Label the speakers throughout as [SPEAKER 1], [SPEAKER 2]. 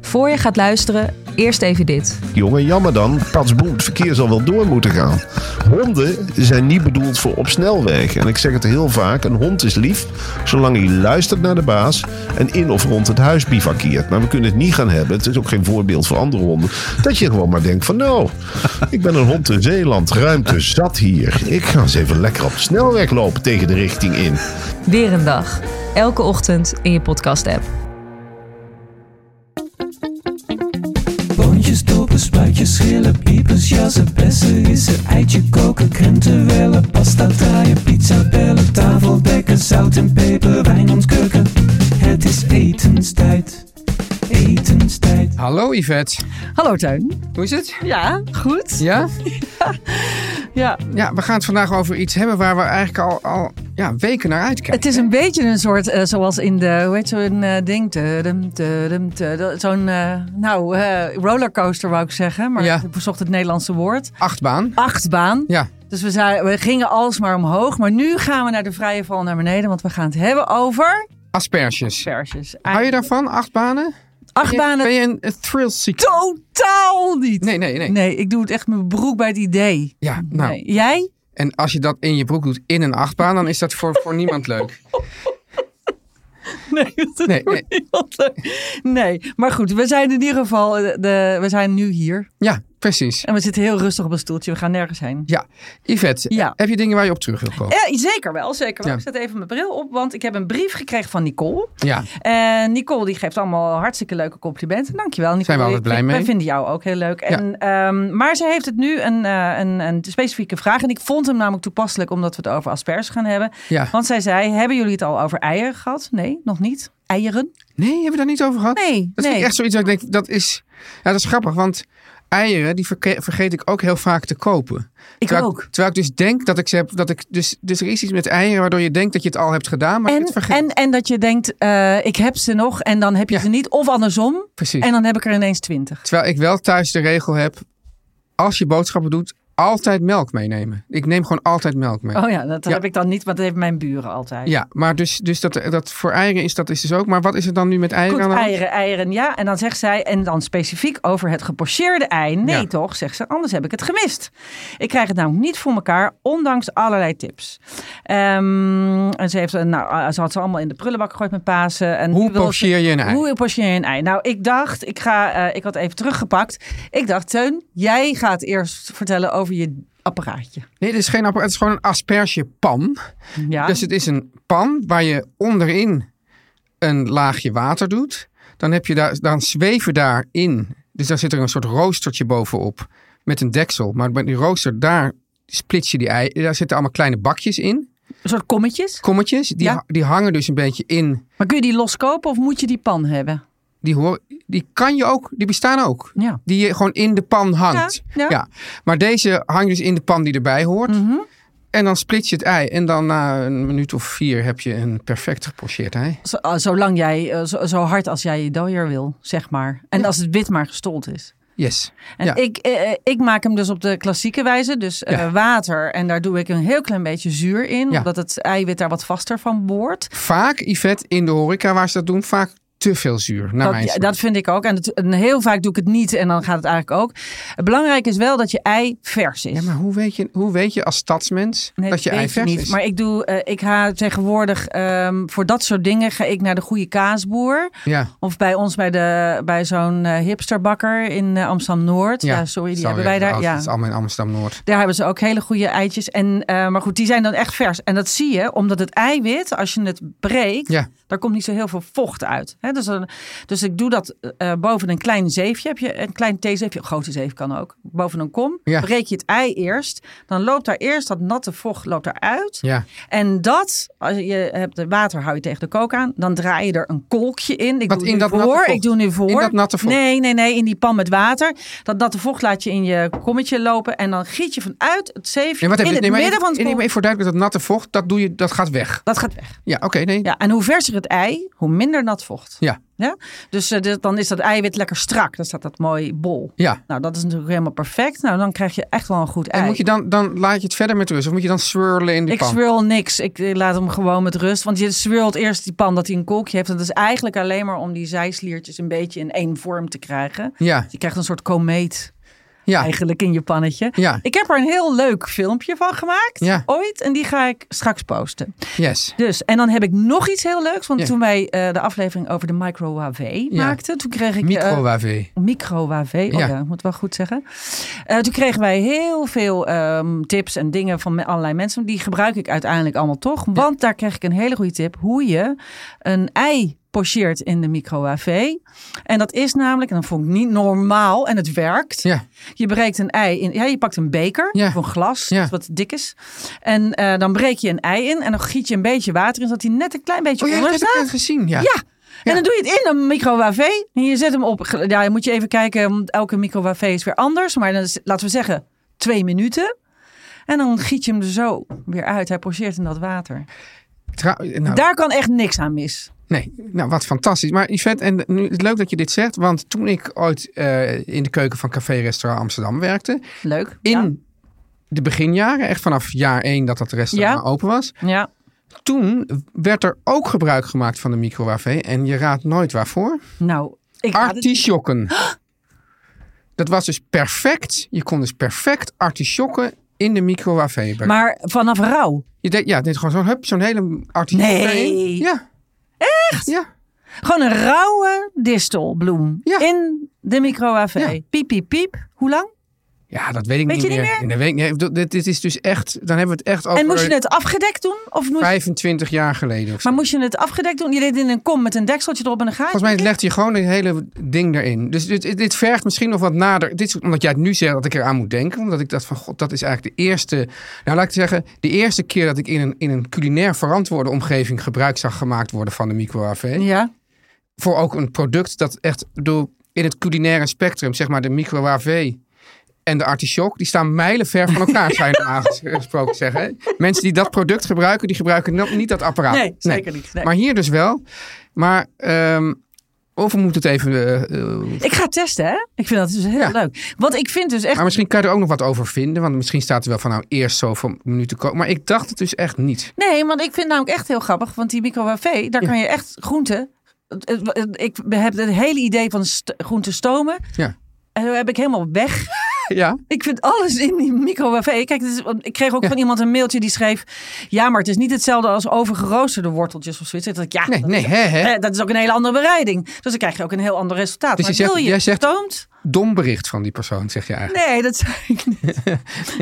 [SPEAKER 1] Voor je gaat luisteren, eerst even dit.
[SPEAKER 2] Jongen, jammer dan. Patsboem, het verkeer zal wel door moeten gaan. Honden zijn niet bedoeld voor op snelwegen. En ik zeg het heel vaak, een hond is lief zolang hij luistert naar de baas... en in of rond het huis bivakkeert. Maar we kunnen het niet gaan hebben, het is ook geen voorbeeld voor andere honden... dat je gewoon maar denkt van nou, ik ben een hond in Zeeland, ruimte zat hier. Ik ga eens even lekker op de snelweg lopen tegen de richting in.
[SPEAKER 1] Weer een dag. Elke ochtend in je podcast-app.
[SPEAKER 3] Boontjes, dopen, spuitjes, schillen, piepers, jassen, bessen, rissen, eitje koken, krenten wellen, pasta draaien, pizza bellen, tafel dekken, zout en peper, wijn ontkurken. Het is etenstijd, etenstijd.
[SPEAKER 4] Hallo Yvette,
[SPEAKER 1] Hallo Tuin.
[SPEAKER 4] hoe is het?
[SPEAKER 1] Ja, goed.
[SPEAKER 4] Ja?
[SPEAKER 1] Ja.
[SPEAKER 4] Ja, we gaan het vandaag over iets hebben waar we eigenlijk al, al ja, weken naar uitkijken.
[SPEAKER 1] Het is een beetje een soort, eh, zoals in de, hoe heet zo'n eh, ding? Tudum, tudum, tudum. Zo'n, eh, nou, eh, rollercoaster wou ik zeggen, maar
[SPEAKER 4] Ja.
[SPEAKER 1] ik bezocht het Nederlandse woord.
[SPEAKER 4] Achtbaan.
[SPEAKER 1] Achtbaan.
[SPEAKER 4] Ja,
[SPEAKER 1] Dus we, zei, we gingen alsmaar omhoog, maar nu gaan we naar de vrije val naar beneden, want we gaan het hebben over...
[SPEAKER 4] asperges.
[SPEAKER 1] Versjes.
[SPEAKER 4] Hou je daarvan, achtbanen?
[SPEAKER 1] Achtbanen
[SPEAKER 4] Ben je een, een thrill seeker?
[SPEAKER 1] totaal niet.
[SPEAKER 4] Nee, nee, nee.
[SPEAKER 1] Nee, ik doe het echt met mijn broek bij het idee.
[SPEAKER 4] Ja, nou.
[SPEAKER 1] Nee. Jij?
[SPEAKER 4] En als je dat in je broek doet in een achtbaan, dan is dat voor, voor niemand leuk.
[SPEAKER 1] Nee, dat
[SPEAKER 4] Nee,
[SPEAKER 1] doe
[SPEAKER 4] nee.
[SPEAKER 1] ik niet. nee, maar goed, we zijn in ieder geval, eh, de, we zijn nu hier.
[SPEAKER 4] Ja, precies.
[SPEAKER 1] En we zitten heel rustig op een stoeltje, we gaan nergens heen.
[SPEAKER 4] Ja, Yvette,
[SPEAKER 1] Ja.
[SPEAKER 4] heb je dingen waar je op terug wil komen?
[SPEAKER 1] Eh, zeker wel, zeker wel.
[SPEAKER 4] Ja.
[SPEAKER 1] Ik zet even mijn bril op, want ik heb een brief gekregen van Nicole.
[SPEAKER 4] Ja,
[SPEAKER 1] En Nicole die geeft allemaal hartstikke leuke complimenten. Dankjewel Nicole.
[SPEAKER 4] Zijn we altijd blij
[SPEAKER 1] Ik- Wij
[SPEAKER 4] mee.
[SPEAKER 1] vinden jou ook heel leuk. En, ehm, maar ze heeft het nu een, eh, een, een specifieke vraag. En ik vond hem namelijk toepasselijk omdat we het over asperges gaan hebben.
[SPEAKER 4] Ja.
[SPEAKER 1] Want zij zei, hebben jullie het al over eieren gehad? Nee, nog niet. Eieren?
[SPEAKER 4] Nee, hebben we daar niet over gehad?
[SPEAKER 1] Nee,
[SPEAKER 4] Dat is
[SPEAKER 1] nee.
[SPEAKER 4] echt zoiets dat ik denk, dat is... Ja, dat is grappig, want eieren, die verke- vergeet ik ook heel vaak te kopen.
[SPEAKER 1] Ik
[SPEAKER 4] terwijl,
[SPEAKER 1] ook.
[SPEAKER 4] Terwijl ik dus denk dat ik ze heb... Dat ik, dus, dus er is iets met eieren waardoor je denkt dat je het al hebt gedaan, maar je
[SPEAKER 1] En,
[SPEAKER 4] het vergeet.
[SPEAKER 1] en, en dat je denkt, eh, ik heb ze nog en dan heb je
[SPEAKER 4] Ja.
[SPEAKER 1] ze niet. Of andersom.
[SPEAKER 4] Precies.
[SPEAKER 1] En dan heb ik er ineens twintig.
[SPEAKER 4] Terwijl ik wel thuis de regel heb, als je boodschappen doet, altijd melk meenemen. Ik neem gewoon altijd melk mee.
[SPEAKER 1] Oh ja, dat
[SPEAKER 4] Ja.
[SPEAKER 1] heb ik dan niet, want dat heeft mijn buren altijd.
[SPEAKER 4] Ja, maar dus, dus dat, dat voor eieren is dat is dus ook. Maar wat is er dan nu met eieren?
[SPEAKER 1] Goed,
[SPEAKER 4] aan de hand?
[SPEAKER 1] eieren, eieren, ja. En dan zegt zij, en dan specifiek over het gepocheerde ei. Nee
[SPEAKER 4] Ja.
[SPEAKER 1] toch, zegt ze, anders heb ik het gemist. Ik krijg het namelijk niet voor elkaar, ondanks allerlei tips. Ehm, en ze, heeft, eh, nou, ze had ze allemaal in de prullenbak gegooid met Pasen. En
[SPEAKER 4] Hoe
[SPEAKER 1] nu wil ze-
[SPEAKER 4] pocheer je een ei?
[SPEAKER 1] Hoe pocheer je een ei? Nou, ik dacht, ik, ga, eh, ik had even teruggepakt. Ik dacht, Teun, jij gaat eerst vertellen over je apparaatje.
[SPEAKER 4] Nee, dit is geen apparaat. Het is gewoon een aspergepan.
[SPEAKER 1] Ja,
[SPEAKER 4] Dus het is een pan waar je onderin een laagje water doet. Dan, heb je daar, dan zweven daarin. Dus daar zit er een soort roostertje bovenop. Met een deksel. Maar met die rooster, daar splits je die ei. Daar zitten allemaal kleine bakjes in.
[SPEAKER 1] een soort kommetjes.
[SPEAKER 4] Kommetjes. Die,
[SPEAKER 1] Ja.
[SPEAKER 4] ha- die hangen dus een beetje in.
[SPEAKER 1] Maar kun je die loskopen of moet je die pan hebben?
[SPEAKER 4] Die, hoor, die kan je ook. Die bestaan ook.
[SPEAKER 1] Ja.
[SPEAKER 4] Die je gewoon in de pan hangt.
[SPEAKER 1] Ja, Mhm. ja.
[SPEAKER 4] Maar deze hangt dus in de pan die erbij hoort. En dan split je het ei. En dan na een minuut of vier heb je een perfect gepocheerd ei.
[SPEAKER 1] Zo- eh, zolang jij, eh, zo, zo hard als jij je dooier wil, zeg maar. En als het wit maar gestold is.
[SPEAKER 4] Yes.
[SPEAKER 1] En
[SPEAKER 4] ja.
[SPEAKER 1] ik, eh, eh, ik maak hem dus op de klassieke wijze. Dus eh, water. En daar doe ik een heel klein beetje zuur in.
[SPEAKER 4] Ja.
[SPEAKER 1] Omdat het eiwit daar wat vaster van wordt.
[SPEAKER 4] Vaak, Yvette, in de horeca waar ze dat doen, vaak te veel zuur. Naar mijn
[SPEAKER 1] dat,
[SPEAKER 4] smaak.
[SPEAKER 1] dat vind ik ook. En, het- en heel vaak doe ik het niet en dan gaat het eigenlijk ook. Belangrijk is wel dat je ei vers is.
[SPEAKER 4] Ja, maar hoe weet je, hoe weet je als stadsmens
[SPEAKER 1] Nee,
[SPEAKER 4] dat je
[SPEAKER 1] weet
[SPEAKER 4] ei
[SPEAKER 1] ik
[SPEAKER 4] vers
[SPEAKER 1] niet.
[SPEAKER 4] is?
[SPEAKER 1] Maar ik doe, eh, ik ga tegenwoordig ehm, voor dat soort dingen ga ik naar de goede kaasboer.
[SPEAKER 4] Ja,
[SPEAKER 1] Of bij ons bij, de, bij zo'n eh, hipsterbakker in Amsterdam Noord. Ja, sorry, die hebben wij daar.
[SPEAKER 4] Dat is
[SPEAKER 1] Ja.
[SPEAKER 4] allemaal in Amsterdam-Noord.
[SPEAKER 1] Daar hebben ze ook hele goede eitjes. En, eh, maar goed, die zijn dan echt vers. En dat zie je, omdat het eiwit, als je het breekt,
[SPEAKER 4] Ja.
[SPEAKER 1] daar komt niet zo heel veel vocht uit. Hè, dus, dan- dus ik doe dat eh, boven een klein zeefje. Heb je een klein theezeefje, een grote zeef kan ook. Boven een kom,
[SPEAKER 4] Ja.
[SPEAKER 1] breek je het ei eerst. Dan loopt daar eerst dat natte vocht loopt eruit.
[SPEAKER 4] Ja.
[SPEAKER 1] En dat, als je hebt de water, hou je tegen de kook aan. Dan draai je er een kolkje in. Ik
[SPEAKER 4] Wat,
[SPEAKER 1] doe
[SPEAKER 4] in
[SPEAKER 1] nu
[SPEAKER 4] dat
[SPEAKER 1] voor.
[SPEAKER 4] natte vocht?
[SPEAKER 1] Ik doe nu voor.
[SPEAKER 4] In dat natte vocht?
[SPEAKER 1] Nee, nee, nee. In die pan met water. Dat natte vocht laat je in je kommetje lopen. En dan giet je vanuit het zeefje
[SPEAKER 4] Nee, wat
[SPEAKER 1] in
[SPEAKER 4] heb je,
[SPEAKER 1] het
[SPEAKER 4] nee, maar
[SPEAKER 1] midden
[SPEAKER 4] even,
[SPEAKER 1] van het
[SPEAKER 4] nee,
[SPEAKER 1] kom-
[SPEAKER 4] maar even voor duidelijk, dat natte vocht, dat, doe je, dat gaat weg.
[SPEAKER 1] Dat gaat weg.
[SPEAKER 4] Ja, oké, nee.
[SPEAKER 1] Ja, en hoe verser het ei, hoe minder nat vocht.
[SPEAKER 4] Ja.
[SPEAKER 1] Ja? Dus eh, dit- dan is dat eiwit lekker strak. Dan staat dat mooi bol.
[SPEAKER 4] Ja.
[SPEAKER 1] Nou, dat is natuurlijk helemaal perfect. Nou, dan krijg je echt wel een goed ei.
[SPEAKER 4] En moet je dan, dan laat je het verder met rust? Of moet je dan swirlen in die
[SPEAKER 1] Ik
[SPEAKER 4] pan?
[SPEAKER 1] swirl niks. Ik eh, laat hem gewoon met rust. Want je swirlt eerst die pan dat hij een kolkje heeft. En dat is eigenlijk alleen maar om die zijsliertjes een beetje in één vorm te krijgen.
[SPEAKER 4] Ja,
[SPEAKER 1] Je krijgt een soort komeet
[SPEAKER 4] ja.
[SPEAKER 1] eigenlijk in je pannetje.
[SPEAKER 4] Ja.
[SPEAKER 1] Ik heb er een heel leuk filmpje van gemaakt
[SPEAKER 4] Ja.
[SPEAKER 1] ooit. En die ga ik straks posten.
[SPEAKER 4] Yes.
[SPEAKER 1] Dus, en dan heb ik nog iets heel leuks. Want
[SPEAKER 4] Ja.
[SPEAKER 1] toen wij eh, de aflevering over de microwave
[SPEAKER 4] Ja.
[SPEAKER 1] maakten, toen kreeg ik... eh,
[SPEAKER 4] Microwave.
[SPEAKER 1] microwave. Oh ja,
[SPEAKER 4] Ja.
[SPEAKER 1] ik moet wel goed zeggen. Eh, toen kregen wij heel veel ehm, tips en dingen van me- allerlei mensen. Die gebruik ik uiteindelijk allemaal toch. Want daar kreeg ik een hele goede tip hoe je een ei pocheert in de microwave. En dat is namelijk, en dat vond ik niet normaal en het werkt.
[SPEAKER 4] Ja.
[SPEAKER 1] Je breekt een ei in. Ja, je pakt een beker
[SPEAKER 4] Ja.
[SPEAKER 1] of een glas,
[SPEAKER 4] Ja.
[SPEAKER 1] wat dik is. En eh, dan breek je een ei in en dan giet je een beetje water in, zodat hij net een klein beetje
[SPEAKER 4] Oh ja, dat
[SPEAKER 1] onder
[SPEAKER 4] heb ik
[SPEAKER 1] staat.
[SPEAKER 4] net gezien. Ja.
[SPEAKER 1] Ja. En dan doe je het in een microwave. En je zet hem op. ge- Ja, je moet je even kijken. want Elke microwave is weer anders. Maar dan is- laten we zeggen twee minuten. En dan giet je hem er zo weer uit. Hij pocheert in dat water.
[SPEAKER 4] Trouw- nou,
[SPEAKER 1] Daar kan echt niks aan mis.
[SPEAKER 4] Nee, nou wat fantastisch. Maar Yvette, en nu, het is leuk dat je dit zegt, want toen ik ooit eh, in de keuken van Café Restaurant Amsterdam werkte,
[SPEAKER 1] Leuk.
[SPEAKER 4] in
[SPEAKER 1] Ja.
[SPEAKER 4] de beginjaren, echt vanaf jaar één dat dat restaurant
[SPEAKER 1] Ja.
[SPEAKER 4] open was,
[SPEAKER 1] ja.
[SPEAKER 4] toen werd er ook gebruik gemaakt van de microwave. En je raadt nooit waarvoor.
[SPEAKER 1] Nou, ik raad het-
[SPEAKER 4] Artisjokken. Dat was dus perfect. Je kon dus perfect artisjokken in de microwave brengen.
[SPEAKER 1] Maar vanaf rauw.
[SPEAKER 4] Je deed, ja, dit gewoon zo'n hup, zo'n hele artiest.
[SPEAKER 1] Nee.
[SPEAKER 4] erin. Ja. Echt? Ja.
[SPEAKER 1] Gewoon een rauwe distelbloem.
[SPEAKER 4] Ja.
[SPEAKER 1] In de microwave.
[SPEAKER 4] Ja.
[SPEAKER 1] Piep, piep, piep. Hoe lang?
[SPEAKER 4] Ja, dat weet ik
[SPEAKER 1] Weet
[SPEAKER 4] niet,
[SPEAKER 1] je niet
[SPEAKER 4] meer.
[SPEAKER 1] meer?
[SPEAKER 4] Nee, weet ik niet. Ik bedoel, Dit, dit is dus echt, dan hebben we het echt over
[SPEAKER 1] En moest je het afgedekt doen? Of moest...
[SPEAKER 4] 25 jaar geleden. Of zo.
[SPEAKER 1] Maar moest je het afgedekt doen? Je deed het in een kom met een dekseltje erop en een gaatje.
[SPEAKER 4] Volgens mij legt je gewoon het hele ding erin. Dus dit, dit vergt misschien nog wat nader. Dit is omdat jij het nu zegt dat ik eraan moet denken. Omdat ik dacht van, god, dat is eigenlijk de eerste... Nou, laat ik zeggen, de eerste keer dat ik in een, in een culinair verantwoorde omgeving... gebruik zag gemaakt worden van de microwave.
[SPEAKER 1] Ja.
[SPEAKER 4] voor ook een product dat echt door in het culinaire spectrum, zeg maar de microwave en de artichok, die staan mijlenver van elkaar, zou je normaal ges- gesproken zeggen. hè. Mensen die dat product gebruiken, die gebruiken no- niet dat apparaat.
[SPEAKER 1] Nee, zeker niet. Nee.
[SPEAKER 4] Maar hier dus wel. Maar, ehm of we moeten het even... eh, eh,
[SPEAKER 1] Ik ga het testen, hè? Ik vind dat dus heel
[SPEAKER 4] Ja.
[SPEAKER 1] leuk. Want ik vind dus echt...
[SPEAKER 4] maar misschien kan je er ook nog wat over vinden, want misschien staat er wel van nou eerst zoveel minuten komen. Maar ik dacht het dus echt niet.
[SPEAKER 1] Nee, want ik vind namelijk echt heel grappig. Want die microwave, daar kan je echt groenten... Ik heb het hele idee van st- groenten stomen.
[SPEAKER 4] Ja.
[SPEAKER 1] En dat heb ik helemaal weg.
[SPEAKER 4] Ja,
[SPEAKER 1] Ik vind alles in die microwave. Kijk, dit is- want ik kreeg ook
[SPEAKER 4] Ja.
[SPEAKER 1] van iemand een mailtje die schreef... Ja, maar het is niet hetzelfde als overgeroosterde worteltjes of zoiets. Dat ik, ja,
[SPEAKER 4] nee,
[SPEAKER 1] dat,
[SPEAKER 4] nee, hè, hè.
[SPEAKER 1] eh, dat is ook een hele andere bereiding. Dus dan krijg je ook een heel ander resultaat.
[SPEAKER 4] Dus je
[SPEAKER 1] maar
[SPEAKER 4] zegt-
[SPEAKER 1] wil je
[SPEAKER 4] jij zegt-
[SPEAKER 1] gestoomt?
[SPEAKER 4] Dom bericht van die persoon, zeg je eigenlijk.
[SPEAKER 1] Nee, dat zei ik niet.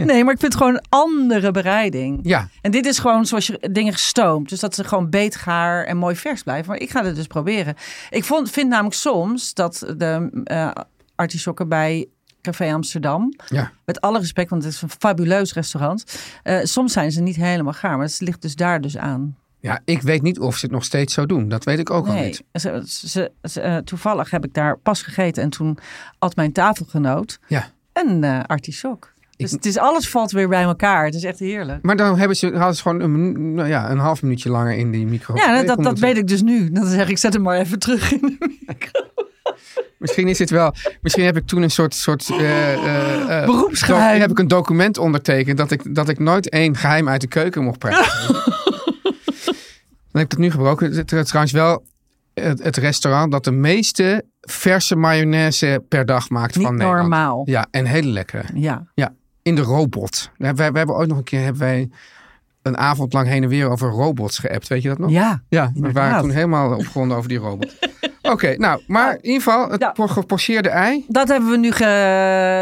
[SPEAKER 1] Nee, maar ik vind het gewoon een andere bereiding.
[SPEAKER 4] Ja,
[SPEAKER 1] En dit is gewoon zoals je dingen stoomt. Dus dat ze gewoon beetgaar en mooi vers blijven. Maar ik ga het dus proberen. Ik vond, vind namelijk soms dat de eh artisjokken bij Café Amsterdam...
[SPEAKER 4] ja.
[SPEAKER 1] met alle respect, want het is een fabuleus restaurant... eh, soms zijn ze niet helemaal gaar. Maar het ligt dus daar dus aan.
[SPEAKER 4] Ja, ik weet niet of ze het nog steeds zo doen. Dat weet ik ook al
[SPEAKER 1] Nee,
[SPEAKER 4] niet.
[SPEAKER 1] ze, ze- ze- eh, toevallig heb ik daar pas gegeten... en toen at mijn tafelgenoot
[SPEAKER 4] Ja.
[SPEAKER 1] een eh artisjok. Dus het is, alles valt weer bij elkaar. Het is echt heerlijk.
[SPEAKER 4] Maar dan hebben ze, hadden ze gewoon een, minu- nou ja, een half minuutje langer in die micro.
[SPEAKER 1] Ja, dat, dat weet ik dus nu. Dan zeg ik, zet hem maar even terug in
[SPEAKER 4] Eh,
[SPEAKER 1] de micro.
[SPEAKER 4] Misschien is dit wel. Misschien heb ik toen een soort. soort eh, eh, eh,
[SPEAKER 1] Beroepsgeheim.
[SPEAKER 4] doc- Heb ik een document ondertekend dat ik, dat ik nooit één geheim uit de keuken mocht praten. dan heb ik dat nu gebroken. Het is Trouwens, wel het, het restaurant dat de meeste verse mayonaise per dag maakt
[SPEAKER 1] Niet
[SPEAKER 4] van Nederland.
[SPEAKER 1] normaal.
[SPEAKER 4] Ja, en hele lekker.
[SPEAKER 1] Ja.
[SPEAKER 4] Ja, in de robot. We, hebben- we hebben ooit nog een keer hebben wij een avond lang heen en weer over robots geappt. Weet je dat nog?
[SPEAKER 1] Ja,
[SPEAKER 4] Ja, we waren
[SPEAKER 1] inderdaad. Oh.
[SPEAKER 4] toen helemaal opgewonden over die robot. Oké, nou, maar in ieder geval het
[SPEAKER 1] Ja.
[SPEAKER 4] por- gepocheerde ei.
[SPEAKER 1] Dat hebben we nu ge...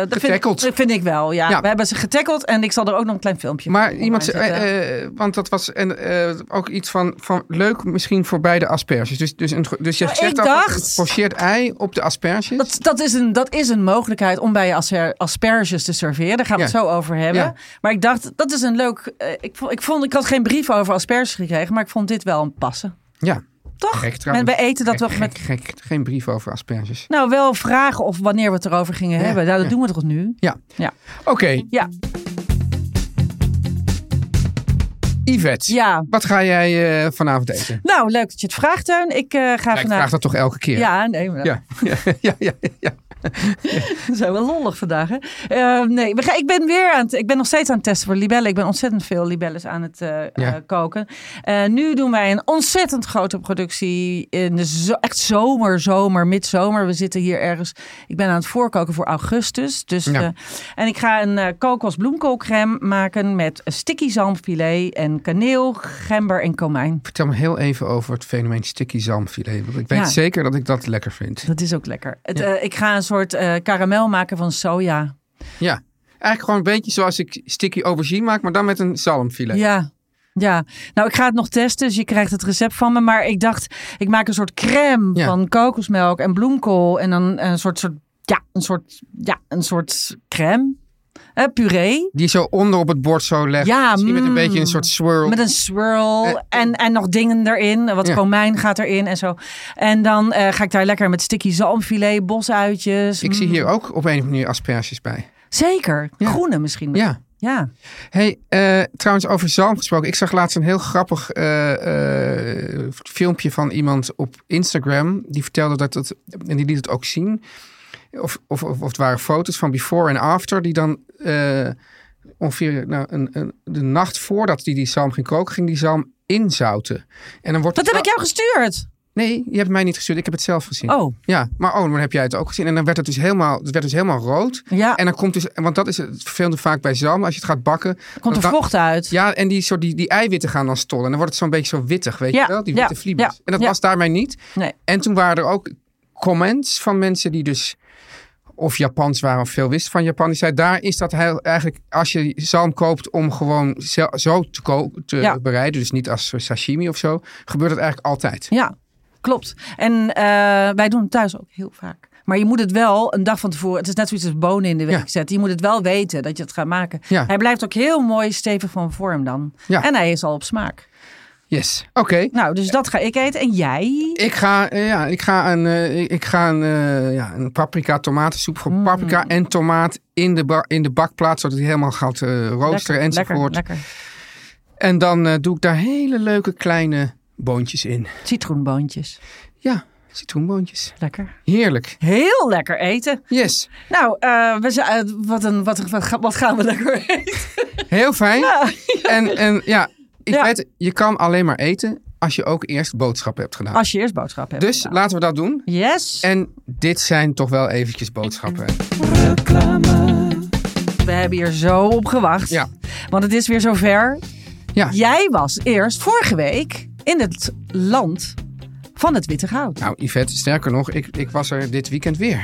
[SPEAKER 1] dat
[SPEAKER 4] Getackled.
[SPEAKER 1] Vind, dat vind ik wel, ja.
[SPEAKER 4] Ja.
[SPEAKER 1] We hebben ze getackled en ik zal er ook nog een klein filmpje
[SPEAKER 4] Maar
[SPEAKER 1] online
[SPEAKER 4] iemand, zei-
[SPEAKER 1] zetten.
[SPEAKER 4] eh, eh, want dat was en, eh, ook iets van, van leuk misschien voor beide asperges. Dus, dus, een, ge- dus je
[SPEAKER 1] Maar
[SPEAKER 4] zegt
[SPEAKER 1] Oh, ik
[SPEAKER 4] dat
[SPEAKER 1] dacht-
[SPEAKER 4] een gepocheerd ei op de asperges.
[SPEAKER 1] Dat, dat, is een, dat is een mogelijkheid om bij je asper- asperges te serveren. Daar gaan we
[SPEAKER 4] Ja.
[SPEAKER 1] het zo over hebben.
[SPEAKER 4] Ja.
[SPEAKER 1] Maar ik dacht, dat is een leuk... eh, ik, vond, ik, vond, ik had geen brief over asperges gekregen, maar ik vond dit wel een passen.
[SPEAKER 4] ja,
[SPEAKER 1] Toch?
[SPEAKER 4] gek
[SPEAKER 1] en
[SPEAKER 4] trouwens.
[SPEAKER 1] we eten dat
[SPEAKER 4] gek,
[SPEAKER 1] toch met...
[SPEAKER 4] gek, gek. Geen brief over asperges.
[SPEAKER 1] Nou, wel vragen of wanneer we het erover gingen
[SPEAKER 4] Ja,
[SPEAKER 1] hebben. Nou, dat
[SPEAKER 4] ja.
[SPEAKER 1] doen we toch nu?
[SPEAKER 4] Ja,
[SPEAKER 1] Ja.
[SPEAKER 4] oké.
[SPEAKER 1] Ja.
[SPEAKER 4] Yvette,
[SPEAKER 1] Ja.
[SPEAKER 4] wat ga jij eh, vanavond eten?
[SPEAKER 1] Nou, leuk dat je het vraagt, Teun. Ik eh, ga
[SPEAKER 4] Ja, ik
[SPEAKER 1] vandaag...
[SPEAKER 4] vraag dat toch elke keer?
[SPEAKER 1] Ja, nee, maar dat-
[SPEAKER 4] Ja, ja, ja, ja, ja.
[SPEAKER 1] We zijn wel lollig vandaag, hè? Eh, nee, we gaan- ik ben weer aan het... Ik ben nog steeds aan het testen voor libellen. Ik ben ontzettend veel libelles aan het eh,
[SPEAKER 4] Ja.
[SPEAKER 1] eh, koken. Eh, nu doen wij een ontzettend grote productie in de zo, echt zomer, zomer, midzomer. We zitten hier ergens... Ik ben aan het voorkoken voor augustus. Dus,
[SPEAKER 4] Ja.
[SPEAKER 1] eh, en ik ga een eh kokos bloemkoolcrème maken met sticky zalmfilet en kaneel, gember en komijn.
[SPEAKER 4] Vertel me heel even over het fenomeen sticky zalmfilet. Want ik weet
[SPEAKER 1] Ja.
[SPEAKER 4] zeker dat ik dat lekker vind.
[SPEAKER 1] Dat is ook lekker. Het, eh, ik ga een soort eh karamel maken van soja.
[SPEAKER 4] Ja. Eigenlijk gewoon een beetje zoals ik sticky aubergine maak, maar dan met een zalmfilet.
[SPEAKER 1] Ja. Ja, nou ik ga het nog testen, dus je krijgt het recept van me. Maar ik dacht, ik maak een soort crème
[SPEAKER 4] Ja.
[SPEAKER 1] van kokosmelk en bloemkool. En dan een soort, soort, ja, een soort, ja, een soort crème. Eh, puree.
[SPEAKER 4] Die zo onder op het bord zo legt.
[SPEAKER 1] Ja,
[SPEAKER 4] Misschien met een
[SPEAKER 1] mm.
[SPEAKER 4] beetje een soort swirl.
[SPEAKER 1] Met een swirl
[SPEAKER 4] Eh,
[SPEAKER 1] en, en nog dingen erin. Wat
[SPEAKER 4] Ja.
[SPEAKER 1] komijn gaat erin en zo. En dan eh, ga ik daar lekker met sticky zalmfilet, bosuitjes.
[SPEAKER 4] Ik zie hier ook op een of andere manier asperges bij.
[SPEAKER 1] Zeker, groene misschien.
[SPEAKER 4] Ja.
[SPEAKER 1] ja.
[SPEAKER 4] Hey, eh, trouwens, over zalm gesproken. Ik zag laatst een heel grappig eh, eh, filmpje van iemand op Instagram. Die vertelde dat het, en die liet het ook zien. Of, of, of, of het waren foto's van before en after, die dan eh, ongeveer nou, een, een, de nacht voordat die, die zalm ging koken, ging die zalm inzouten. En dan wordt
[SPEAKER 1] Dat
[SPEAKER 4] het
[SPEAKER 1] heb ik
[SPEAKER 4] wel-
[SPEAKER 1] jou gestuurd.
[SPEAKER 4] Nee, je hebt mij niet gestuurd, ik heb het zelf gezien.
[SPEAKER 1] Oh,
[SPEAKER 4] Ja, maar oh, dan heb jij het ook gezien. En dan werd het dus helemaal, het werd dus helemaal rood.
[SPEAKER 1] Ja.
[SPEAKER 4] En dan komt dus, want dat is het vervelende vaak bij zalm. Als je het gaat bakken. dan-
[SPEAKER 1] komt er
[SPEAKER 4] dan-
[SPEAKER 1] vocht uit.
[SPEAKER 4] Ja, en die, soort, die, die eiwitten gaan dan stollen. En dan wordt het zo'n beetje zo wittig, weet
[SPEAKER 1] Ja,
[SPEAKER 4] je wel? Die witte
[SPEAKER 1] ja,
[SPEAKER 4] vliebels.
[SPEAKER 1] ja,
[SPEAKER 4] En dat
[SPEAKER 1] ja.
[SPEAKER 4] was daarmee niet.
[SPEAKER 1] Nee.
[SPEAKER 4] En toen waren er ook comments van mensen die dus of Japans waren of veel wisten van Japan. Die zei, daar is dat heel, eigenlijk, als je zalm koopt om gewoon zo, zo te, ko- te
[SPEAKER 1] Ja.
[SPEAKER 4] bereiden, dus niet als sashimi of zo, gebeurt dat eigenlijk altijd.
[SPEAKER 1] Ja, klopt. En eh, wij doen het thuis ook heel vaak. Maar je moet het wel een dag van tevoren. Het is net zoiets als bonen in de week
[SPEAKER 4] Ja.
[SPEAKER 1] zetten. Je moet het wel weten dat je het gaat maken.
[SPEAKER 4] Ja.
[SPEAKER 1] Hij blijft ook heel mooi stevig van vorm dan.
[SPEAKER 4] Ja.
[SPEAKER 1] En hij is al op smaak.
[SPEAKER 4] Yes, oké.
[SPEAKER 1] Nou, dus dat ga ik eten. En jij?
[SPEAKER 4] Ik ga, eh, ja, ik ga een, eh, ik- ik ga een, eh, ja, een paprika tomatensoep
[SPEAKER 1] Mm.
[SPEAKER 4] voor paprika en tomaat in de, ba- in de bak plaatsen, zodat hij helemaal gaat eh, roosteren enzovoort.
[SPEAKER 1] lekker, lekker.
[SPEAKER 4] En dan eh, doe ik daar hele leuke kleine boontjes in.
[SPEAKER 1] Citroenboontjes.
[SPEAKER 4] Ja, citroenboontjes.
[SPEAKER 1] Lekker.
[SPEAKER 4] Heerlijk.
[SPEAKER 1] Heel lekker eten.
[SPEAKER 4] Yes,
[SPEAKER 1] Nou, eh, we zijn, eh, wat, een, wat, een- wat, ga- wat gaan we lekker eten?
[SPEAKER 4] heel fijn. En, en ja, ik
[SPEAKER 1] Ja.
[SPEAKER 4] weet, je kan alleen maar eten als je ook eerst boodschappen hebt gedaan.
[SPEAKER 1] Als je eerst boodschap hebt. Nou.
[SPEAKER 4] Dus laten we dat doen.
[SPEAKER 1] Yes.
[SPEAKER 4] En dit zijn toch wel eventjes boodschappen.
[SPEAKER 1] We hebben hier zo op gewacht.
[SPEAKER 4] Ja.
[SPEAKER 1] Want het is weer zover.
[SPEAKER 4] Ja.
[SPEAKER 1] Jij was eerst vorige week in het land van het witte goud.
[SPEAKER 4] Nou, Yvette, sterker nog, ik, ik was er dit weekend weer.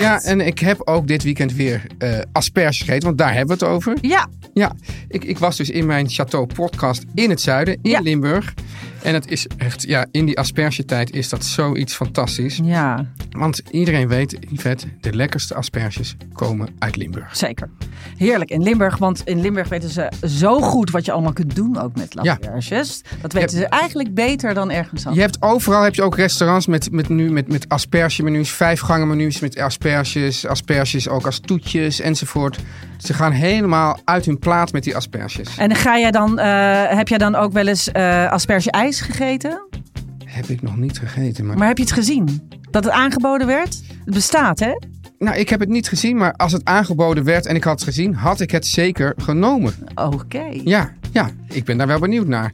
[SPEAKER 4] Ja, en ik heb ook dit weekend weer eh asperges gegeten, want daar hebben we het over.
[SPEAKER 1] Ja,
[SPEAKER 4] Ja, ik, ik was dus in mijn Chateau podcast in het zuiden, in
[SPEAKER 1] Ja.
[SPEAKER 4] Limburg. En het is echt, ja, in die aspergetijd is dat zoiets fantastisch.
[SPEAKER 1] ja,
[SPEAKER 4] Want iedereen weet, Yvette, de lekkerste asperges komen uit Limburg.
[SPEAKER 1] zeker. Heerlijk in Limburg, want in Limburg weten ze zo goed wat je allemaal kunt doen ook met lampierges. Dat weten ze eigenlijk beter dan ergens
[SPEAKER 4] Je
[SPEAKER 1] anders.
[SPEAKER 4] hebt overal heb je ook restaurants met, met, nu, met, met aspergemenu's, vijfgangenmenu's met asperges, asperges ook als toetjes enzovoort. Ze gaan helemaal uit hun plaat met die asperges.
[SPEAKER 1] En ga jij dan, eh, heb jij dan ook wel eens eh asperge-ijs gegeten?
[SPEAKER 4] Heb ik nog niet gegeten, maar...
[SPEAKER 1] Maar heb je het gezien? Dat het aangeboden werd? Het bestaat, hè?
[SPEAKER 4] Nou, ik heb het niet gezien, maar als het aangeboden werd en ik had het gezien, had ik het zeker genomen.
[SPEAKER 1] Oké.
[SPEAKER 4] Ja, ja, ik ben daar wel benieuwd naar.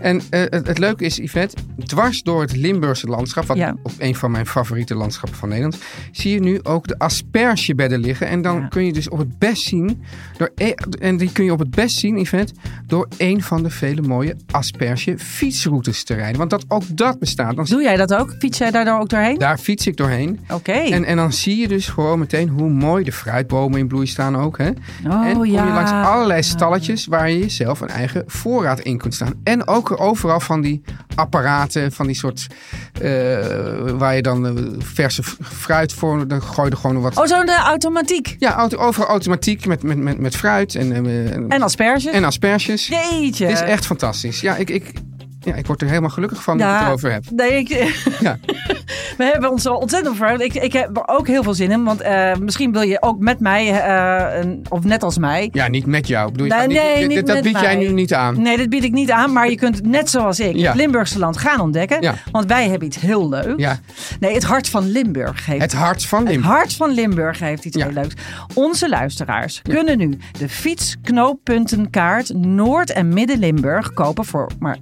[SPEAKER 4] En eh, het, het leuke is, Yvette, dwars door het Limburgse landschap, wat
[SPEAKER 1] Ja.
[SPEAKER 4] op een van mijn favoriete landschappen van Nederland, zie je nu ook de aspergebedden liggen. En dan
[SPEAKER 1] Ja.
[SPEAKER 4] kun je dus op het best zien, door, e- en die kun je op het best zien, Yvette, door een van de vele mooie asperge fietsroutes te rijden. Want dat, ook dat bestaat. Dan,
[SPEAKER 1] Doe jij dat ook? Fiets jij daar dan ook doorheen?
[SPEAKER 4] daar fiets ik doorheen.
[SPEAKER 1] Oké.
[SPEAKER 4] En, en dan zie je dus gewoon meteen hoe mooi de fruitbomen in bloei staan ook. Hè?
[SPEAKER 1] Oh,
[SPEAKER 4] en kom je
[SPEAKER 1] ja.
[SPEAKER 4] langs allerlei stalletjes waar je jezelf een eigen voorraad in kunt staan. En ook overal van die apparaten, van die soort... eh, waar je dan eh, verse f- fruit voor... Dan gooi je er gewoon wat...
[SPEAKER 1] Oh, zo'n eh, automatiek.
[SPEAKER 4] Ja, auto, overal automatiek met, met, met, met fruit en, eh, en,
[SPEAKER 1] En asperges.
[SPEAKER 4] en asperges.
[SPEAKER 1] Jeetje.
[SPEAKER 4] Dit is echt fantastisch. Ja, ik... ik ja, ik word er helemaal gelukkig van dat ik het erover heb.
[SPEAKER 1] Nou, Nee, ik,
[SPEAKER 4] Ja.
[SPEAKER 1] we hebben ons er ontzettend voor. Ik, ik heb er ook heel veel zin in. Want eh, misschien wil je ook met mij, eh, een- of net als mij.
[SPEAKER 4] Ja, niet met jou. Ik Bedoel, je
[SPEAKER 1] Nou,
[SPEAKER 4] gaat niet-
[SPEAKER 1] nee,
[SPEAKER 4] dit-
[SPEAKER 1] niet
[SPEAKER 4] dit- dat
[SPEAKER 1] met
[SPEAKER 4] bied jij
[SPEAKER 1] mij.
[SPEAKER 4] nu niet aan.
[SPEAKER 1] Nee, dat bied ik niet aan. Maar je kunt net zoals ik
[SPEAKER 4] Ja.
[SPEAKER 1] het Limburgse land gaan ontdekken.
[SPEAKER 4] Ja.
[SPEAKER 1] Want wij hebben iets heel leuks.
[SPEAKER 4] Ja.
[SPEAKER 1] Nee, het hart van Limburg heeft
[SPEAKER 4] Het hart van Limburg.
[SPEAKER 1] Het hart van Limburg heeft iets
[SPEAKER 4] Ja.
[SPEAKER 1] heel leuks. Onze luisteraars kunnen nu de fietsknooppuntenkaart Noord- en Midden-Limburg kopen voor maar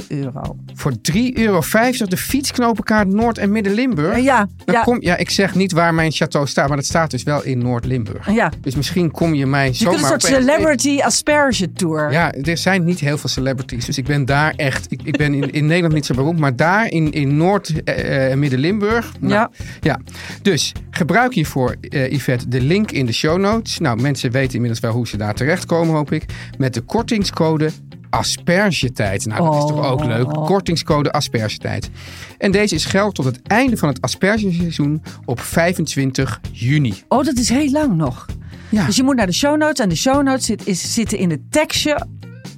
[SPEAKER 1] 3,5 euro.
[SPEAKER 4] voor 3,50 euro de fietsknopenkaart Noord- en Midden-Limburg.
[SPEAKER 1] Eh, ja,
[SPEAKER 4] dan
[SPEAKER 1] ja.
[SPEAKER 4] Kom, ja, ik zeg niet waar mijn château staat, maar dat staat dus wel in Noord-Limburg.
[SPEAKER 1] Ja.
[SPEAKER 4] Dus misschien kom je mij
[SPEAKER 1] Je
[SPEAKER 4] zomaar...
[SPEAKER 1] kunt een soort
[SPEAKER 4] opeens-
[SPEAKER 1] celebrity asperge tour.
[SPEAKER 4] Ja, er zijn niet heel veel celebrities. Dus ik ben daar echt... Ik, ik ben in, in Nederland niet zo beroemd, maar daar in, in Noord- eh, en Midden-Limburg... nou,
[SPEAKER 1] Ja.
[SPEAKER 4] ja. Dus gebruik hiervoor, eh, Yvette, de link in de show notes. Nou, mensen weten inmiddels wel hoe ze daar terechtkomen, hoop ik. Met de kortingscode aspergetijd. Nou, dat is toch ook
[SPEAKER 1] Oh.
[SPEAKER 4] leuk. Kortingscode aspergetijd. En deze is geldig tot het einde van het aspergeseizoen op 25 juni.
[SPEAKER 1] Oh, dat is heel lang nog.
[SPEAKER 4] Ja.
[SPEAKER 1] Dus je moet naar de show notes. En de show notes zit, is, zitten in het tekstje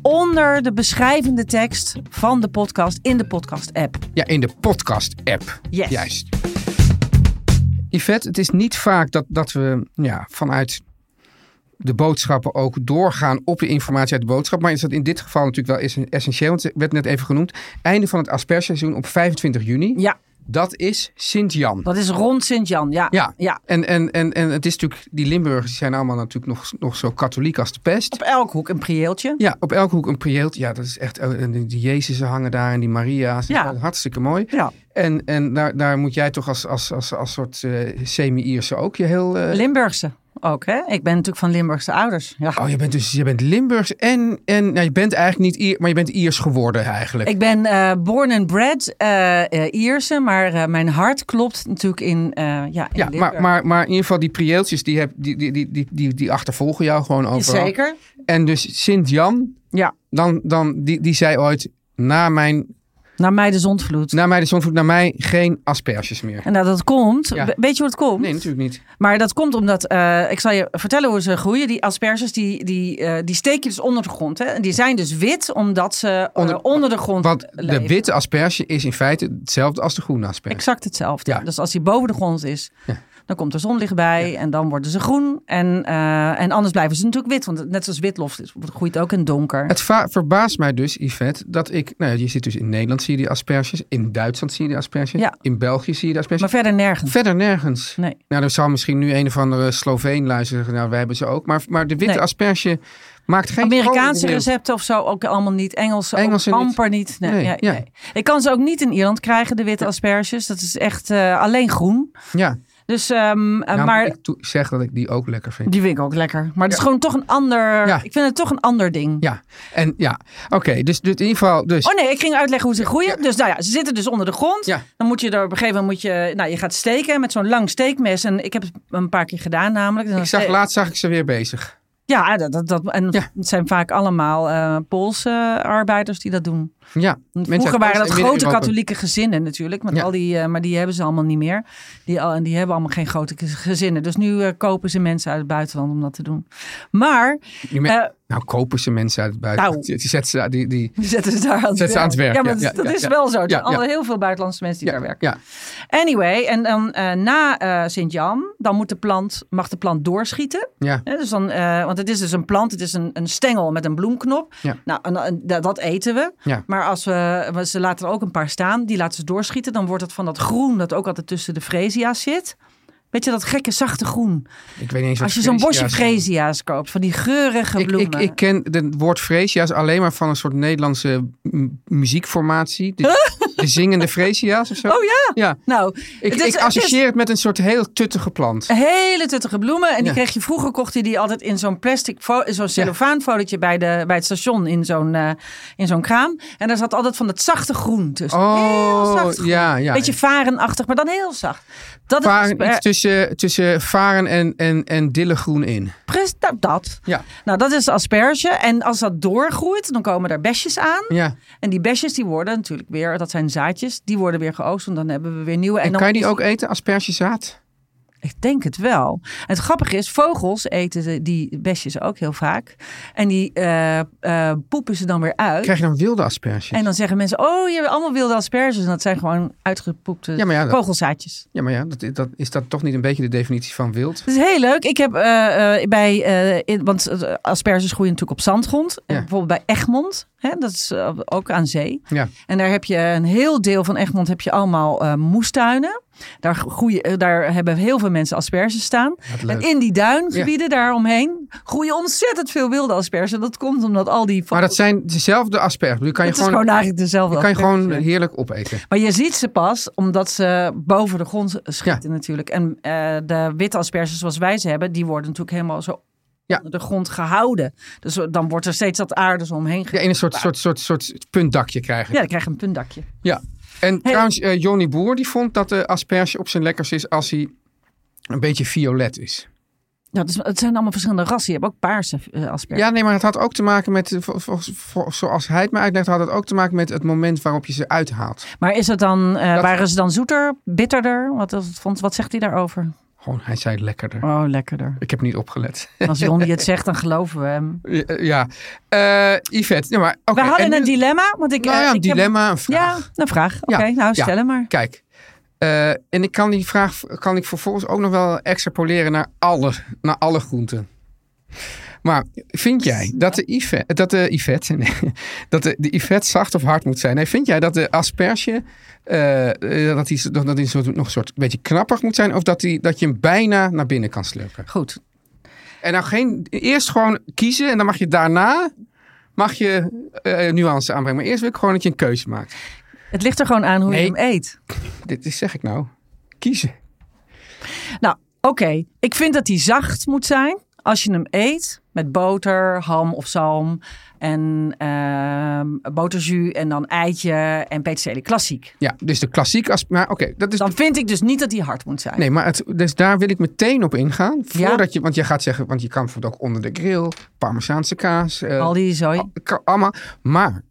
[SPEAKER 1] onder de beschrijvende tekst van de podcast in de podcast-app.
[SPEAKER 4] Ja, in de podcast-app.
[SPEAKER 1] Yes.
[SPEAKER 4] Juist. Yvette, het is niet vaak dat, dat we ja, vanuit de boodschappen ook doorgaan op de informatie uit de boodschap. Maar is dat in dit geval natuurlijk wel essen- essentieel, want het werd net even genoemd. Einde van het aspergeseizoen op 25 juni.
[SPEAKER 1] Ja,
[SPEAKER 4] Dat is Sint-Jan.
[SPEAKER 1] dat is rond Sint-Jan. Ja.
[SPEAKER 4] Ja,
[SPEAKER 1] ja.
[SPEAKER 4] En, en, en, en het is natuurlijk, die Limburgers die zijn allemaal natuurlijk nog, nog zo katholiek als de pest.
[SPEAKER 1] Op elk hoek een prieeltje.
[SPEAKER 4] Ja, op elke hoek een prieeltje. Ja, dat is echt. eh, En die die Jezusen hangen daar en die Maria's. Dat is
[SPEAKER 1] Ja.
[SPEAKER 4] wel hartstikke mooi.
[SPEAKER 1] Ja.
[SPEAKER 4] En, en daar, daar moet jij toch als, als, als, als soort eh, semi-Ierse ook je heel. eh,
[SPEAKER 1] Limburgse ook, hè? Ik ben natuurlijk van Limburgse ouders. Ja.
[SPEAKER 4] oh, je bent dus je bent Limburgs en. en nou, je bent eigenlijk niet Ier, maar je bent Iers geworden eigenlijk.
[SPEAKER 1] Ik ben eh, born and bred eh, eh, Ierse, maar eh, mijn hart klopt natuurlijk in, eh ja, in
[SPEAKER 4] ja,
[SPEAKER 1] Limburg.
[SPEAKER 4] maar, maar, maar in ieder geval die prieeltjes, die, heb, die, die, die, die, die, die achtervolgen jou gewoon overal.
[SPEAKER 1] Zeker.
[SPEAKER 4] En dus Sint-Jan,
[SPEAKER 1] Ja,
[SPEAKER 4] dan, dan, die, die zei ooit, na, mijn,
[SPEAKER 1] naar mij de zondvloed.
[SPEAKER 4] na mij de zonvloed, na mij geen asperges meer.
[SPEAKER 1] En nou, dat komt.
[SPEAKER 4] Ja.
[SPEAKER 1] we- Weet je hoe het komt?
[SPEAKER 4] Nee, natuurlijk niet.
[SPEAKER 1] Maar dat komt omdat, eh, ik zal je vertellen hoe ze groeien. Die asperges, die, die, eh, die steek je dus onder de grond. Hè? En die zijn dus wit, omdat ze eh, onder,
[SPEAKER 4] Onder-
[SPEAKER 1] de grond
[SPEAKER 4] Want de
[SPEAKER 1] leven.
[SPEAKER 4] witte asperge is in feite hetzelfde als de groene asperge.
[SPEAKER 1] Exact hetzelfde.
[SPEAKER 4] Ja.
[SPEAKER 1] Dus als die boven de grond is, dan komt er zonlicht bij en dan worden ze groen. En, eh, en anders blijven ze natuurlijk wit, want net zoals witlof is- groeit ook in het donker.
[SPEAKER 4] Het va- verbaast mij dus, Yvette, dat ik... Nou, ja, je zit dus in Nederland zie je die asperges. In Duitsland zie je die asperges.
[SPEAKER 1] Ja.
[SPEAKER 4] In België zie je die asperges.
[SPEAKER 1] Maar verder nergens.
[SPEAKER 4] Verder nergens.
[SPEAKER 1] Nee.
[SPEAKER 4] Nou, dan zou misschien nu een of andere Sloveen luisteren. Nou, wij hebben ze ook. Maar, maar de witte
[SPEAKER 1] Nee.
[SPEAKER 4] asperge maakt geen...
[SPEAKER 1] Amerikaanse
[SPEAKER 4] grote wereld.
[SPEAKER 1] recepten of zo ook allemaal niet. Engelse,
[SPEAKER 4] Engelse
[SPEAKER 1] ook
[SPEAKER 4] niet.
[SPEAKER 1] amper niet. Nee,
[SPEAKER 4] Nee,
[SPEAKER 1] nee,
[SPEAKER 4] ja.
[SPEAKER 1] nee. Ik kan ze ook niet in Ierland krijgen, de witte asperges. Dat is echt eh, alleen groen.
[SPEAKER 4] Ja,
[SPEAKER 1] Dus, ehm, eh,
[SPEAKER 4] nou,
[SPEAKER 1] maar
[SPEAKER 4] ik toe- zeg dat ik die ook lekker vind.
[SPEAKER 1] die vind ik ook lekker. Maar het is gewoon toch een ander...
[SPEAKER 4] Ja.
[SPEAKER 1] Ik vind het toch een ander ding.
[SPEAKER 4] Ja, en ja. Oké, dus, dus in ieder geval... Dus,
[SPEAKER 1] Oh nee, ik ging uitleggen hoe ze groeien. Dus nou ja, ze zitten dus onder de grond.
[SPEAKER 4] Ja.
[SPEAKER 1] Dan moet je er op een gegeven moment, moet je, nou je gaat steken met zo'n lang steekmes. En ik heb het een paar keer gedaan namelijk. Dan
[SPEAKER 4] ik zag,
[SPEAKER 1] ste-
[SPEAKER 4] laatst zag ik ze weer bezig.
[SPEAKER 1] Ja, dat, dat, dat, en
[SPEAKER 4] Ja.
[SPEAKER 1] het zijn vaak allemaal eh Poolse arbeiders die dat doen.
[SPEAKER 4] Ja.
[SPEAKER 1] Vroeger waren dat grote
[SPEAKER 4] katholiek.
[SPEAKER 1] katholieke gezinnen natuurlijk. Met
[SPEAKER 4] Ja.
[SPEAKER 1] al die, eh, maar die hebben ze allemaal niet meer. Die, al- en die hebben allemaal geen grote gezinnen. Dus nu eh, kopen ze mensen uit het buitenland om dat te doen. Maar
[SPEAKER 4] Die men-
[SPEAKER 1] Eh,
[SPEAKER 4] nou, kopen ze mensen uit het
[SPEAKER 1] Nou.
[SPEAKER 4] buitenland. Die die zetten ze, die, die,
[SPEAKER 1] die zetten ze daar aan het,
[SPEAKER 4] Zetten ze aan het werk,
[SPEAKER 1] Ja, maar
[SPEAKER 4] ja,
[SPEAKER 1] dat,
[SPEAKER 4] ja,
[SPEAKER 1] dat
[SPEAKER 4] ja,
[SPEAKER 1] is
[SPEAKER 4] ja.
[SPEAKER 1] wel zo. Er zijn
[SPEAKER 4] Ja, ja.
[SPEAKER 1] al heel veel buitenlandse mensen die daar werken.
[SPEAKER 4] ja.
[SPEAKER 1] Anyway, en dan eh, na eh, Sint-Jan, dan moet de plant, mag de plant doorschieten.
[SPEAKER 4] ja.
[SPEAKER 1] Hè, dus dan, eh, want het is dus een plant, het is een, een stengel met een bloemknop.
[SPEAKER 4] Ja.
[SPEAKER 1] Nou, en, en da- dat eten we.
[SPEAKER 4] Ja.
[SPEAKER 1] Maar als we, we- ze laten er ook een paar staan, die laten ze doorschieten. Dan wordt het van dat groen dat ook altijd tussen de freesia's zit. Weet je dat gekke zachte groen?
[SPEAKER 4] Ik weet niet eens wat
[SPEAKER 1] Als je zo'n bosje
[SPEAKER 4] freesia's zijn.
[SPEAKER 1] freesia's koopt, van die geurige
[SPEAKER 4] Ik,
[SPEAKER 1] bloemen.
[SPEAKER 4] ik, ik ken het woord freesia's alleen maar van een soort Nederlandse mu- muziekformatie. De, de zingende freesia's of zo.
[SPEAKER 1] Oh ja?
[SPEAKER 4] Ja.
[SPEAKER 1] Nou, het
[SPEAKER 4] Ik,
[SPEAKER 1] is- Eh,
[SPEAKER 4] ik associeer het met een soort heel tuttige plant.
[SPEAKER 1] het is hele tuttige bloemen. En die
[SPEAKER 4] Ja.
[SPEAKER 1] kreeg je vroeger, kocht je die altijd in zo'n plastic, fo- in zo'n cellofaanfolietje bij, de, bij het station in zo'n, eh, in zo'n kraam. En daar zat altijd van dat zachte groen tussen. heel
[SPEAKER 4] Oh,
[SPEAKER 1] zacht groen.
[SPEAKER 4] ja, ja.
[SPEAKER 1] Beetje varenachtig, maar dan heel zacht. Dat is
[SPEAKER 4] Varen,
[SPEAKER 1] dus-
[SPEAKER 4] iets tussen, tussen varen en, en, en dillegroen in.
[SPEAKER 1] Precies, nou, dat.
[SPEAKER 4] Ja.
[SPEAKER 1] Nou, dat is asperge. En als dat doorgroeit, dan komen er besjes aan.
[SPEAKER 4] Ja.
[SPEAKER 1] En die besjes, die worden natuurlijk weer, dat zijn zaadjes, die worden weer geoogst. En dan hebben we weer nieuwe.
[SPEAKER 4] En
[SPEAKER 1] dan
[SPEAKER 4] kan je die
[SPEAKER 1] is-
[SPEAKER 4] ook eten, aspergezaad?
[SPEAKER 1] Ik denk het wel. En het grappige is, vogels eten ze die besjes ook heel vaak. En die eh, eh, poepen ze dan weer uit.
[SPEAKER 4] Krijg je dan wilde asperges?
[SPEAKER 1] En dan zeggen mensen, oh, je hebt allemaal wilde asperges. En dat zijn gewoon uitgepoepte
[SPEAKER 4] Ja, maar ja, dat-
[SPEAKER 1] vogelzaadjes.
[SPEAKER 4] Ja, maar ja, dat, dat, is dat toch niet een beetje de definitie van wild?
[SPEAKER 1] Het is heel leuk. Ik heb eh, eh, bij, eh, in- want eh, asperges groeien natuurlijk op zandgrond. En
[SPEAKER 4] Ja.
[SPEAKER 1] Bijvoorbeeld bij Egmond, hè, dat is eh, ook aan zee.
[SPEAKER 4] Ja.
[SPEAKER 1] En daar heb je een heel deel van Egmond heb je allemaal eh, moestuinen. Daar, groeien, eh, daar hebben heel veel mensen asperges staan. En
[SPEAKER 4] leuk.
[SPEAKER 1] in die duingebieden daaromheen groeien ontzettend veel wilde asperges. Dat komt omdat al die...
[SPEAKER 4] Maar dat zijn dezelfde asperges. Die kan je
[SPEAKER 1] het is gewoon,
[SPEAKER 4] gewoon,
[SPEAKER 1] eigenlijk dezelfde
[SPEAKER 4] die kan je
[SPEAKER 1] asperges,
[SPEAKER 4] gewoon
[SPEAKER 1] ja.
[SPEAKER 4] heerlijk opeten.
[SPEAKER 1] Maar je ziet ze pas omdat ze boven de grond schieten natuurlijk. En eh, de witte asperges zoals wij ze hebben, die worden natuurlijk helemaal zo
[SPEAKER 4] Ja.
[SPEAKER 1] onder de grond gehouden. Dus dan wordt er steeds dat aarde zo omheen
[SPEAKER 4] Ja,
[SPEAKER 1] ge-
[SPEAKER 4] in een soort, soort, soort, soort puntdakje krijgen.
[SPEAKER 1] Ja, dan krijg je een puntdakje.
[SPEAKER 4] Ja. En trouwens, eh, Johnny Boer die vond dat de asperge op zijn lekkers is als hij een beetje violet is.
[SPEAKER 1] Nou, dus het zijn allemaal verschillende rassen. Je hebt ook paarse eh, asperges.
[SPEAKER 4] Ja, nee, maar het had ook te maken met, eh, vol- vol- vol- zoals hij het me uitlegde, had het ook te maken met het moment waarop je ze uithaalt.
[SPEAKER 1] Maar is het dan, eh,
[SPEAKER 4] Dat-
[SPEAKER 1] waren ze dan zoeter, bitterder? Wat, is het- vond- wat zegt hij daarover?
[SPEAKER 4] Gewoon, hij zei lekkerder.
[SPEAKER 1] Oh, lekkerder.
[SPEAKER 4] Ik heb niet opgelet.
[SPEAKER 1] Als Johnny het zegt, dan geloven we hem.
[SPEAKER 4] ja, Eh Yvette. Ja, maar, oké,
[SPEAKER 1] We hadden
[SPEAKER 4] en
[SPEAKER 1] een
[SPEAKER 4] nu-
[SPEAKER 1] dilemma. Want ik,
[SPEAKER 4] Nou
[SPEAKER 1] eh,
[SPEAKER 4] ja, een
[SPEAKER 1] ik heb-
[SPEAKER 4] dilemma, een vraag.
[SPEAKER 1] Ja, een vraag. Oké,
[SPEAKER 4] Ja,
[SPEAKER 1] nou
[SPEAKER 4] ja.
[SPEAKER 1] stel hem maar.
[SPEAKER 4] Kijk, eh, en ik kan die vraag kan ik vervolgens ook nog wel extrapoleren naar alle, naar alle groenten. Maar vind jij dat de Yvette, dat de Yvette, nee, dat de, de Yvette zacht of hard moet zijn? Nee, vind jij dat de asperge eh, eh, dat die, dat die soort, nog een soort beetje knappig moet zijn? Of dat, die, dat je hem bijna naar binnen kan slurpen?
[SPEAKER 1] Goed.
[SPEAKER 4] En nou geen, eerst gewoon kiezen en dan mag je daarna mag je, eh, nuance aanbrengen. Maar eerst wil ik gewoon dat je een keuze maakt.
[SPEAKER 1] Het ligt er gewoon aan hoe je
[SPEAKER 4] Nee.
[SPEAKER 1] hem eet.
[SPEAKER 4] Dit is, zeg ik nou, kiezen.
[SPEAKER 1] Nou, oké. Ik vind dat die zacht moet zijn als je hem eet met boter, ham of zalm en ehm boterjus en dan eitje en peterselie klassiek.
[SPEAKER 4] Ja, dus de klassiek as- Maar oké, dat is.
[SPEAKER 1] Dan vind ik dus niet dat die hard moet zijn.
[SPEAKER 4] Nee, maar het, dus daar wil ik meteen op ingaan.
[SPEAKER 1] Ja.
[SPEAKER 4] Voordat je, want je gaat zeggen, want je kan bijvoorbeeld ook onder de grill, Parmezaanse kaas, eh,
[SPEAKER 1] Al die zooi.
[SPEAKER 4] al- ka- allemaal. Maar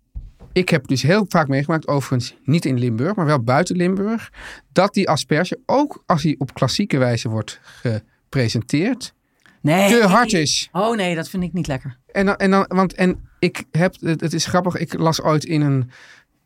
[SPEAKER 4] ik heb dus heel vaak meegemaakt, overigens niet in Limburg, maar wel buiten Limburg, dat die asperge, ook als die op klassieke wijze wordt gepresenteerd,
[SPEAKER 1] Nee.
[SPEAKER 4] te hard is.
[SPEAKER 1] Oh nee, dat vind ik niet lekker.
[SPEAKER 4] En dan, en dan, want en ik heb, het, het is grappig, ik las ooit in een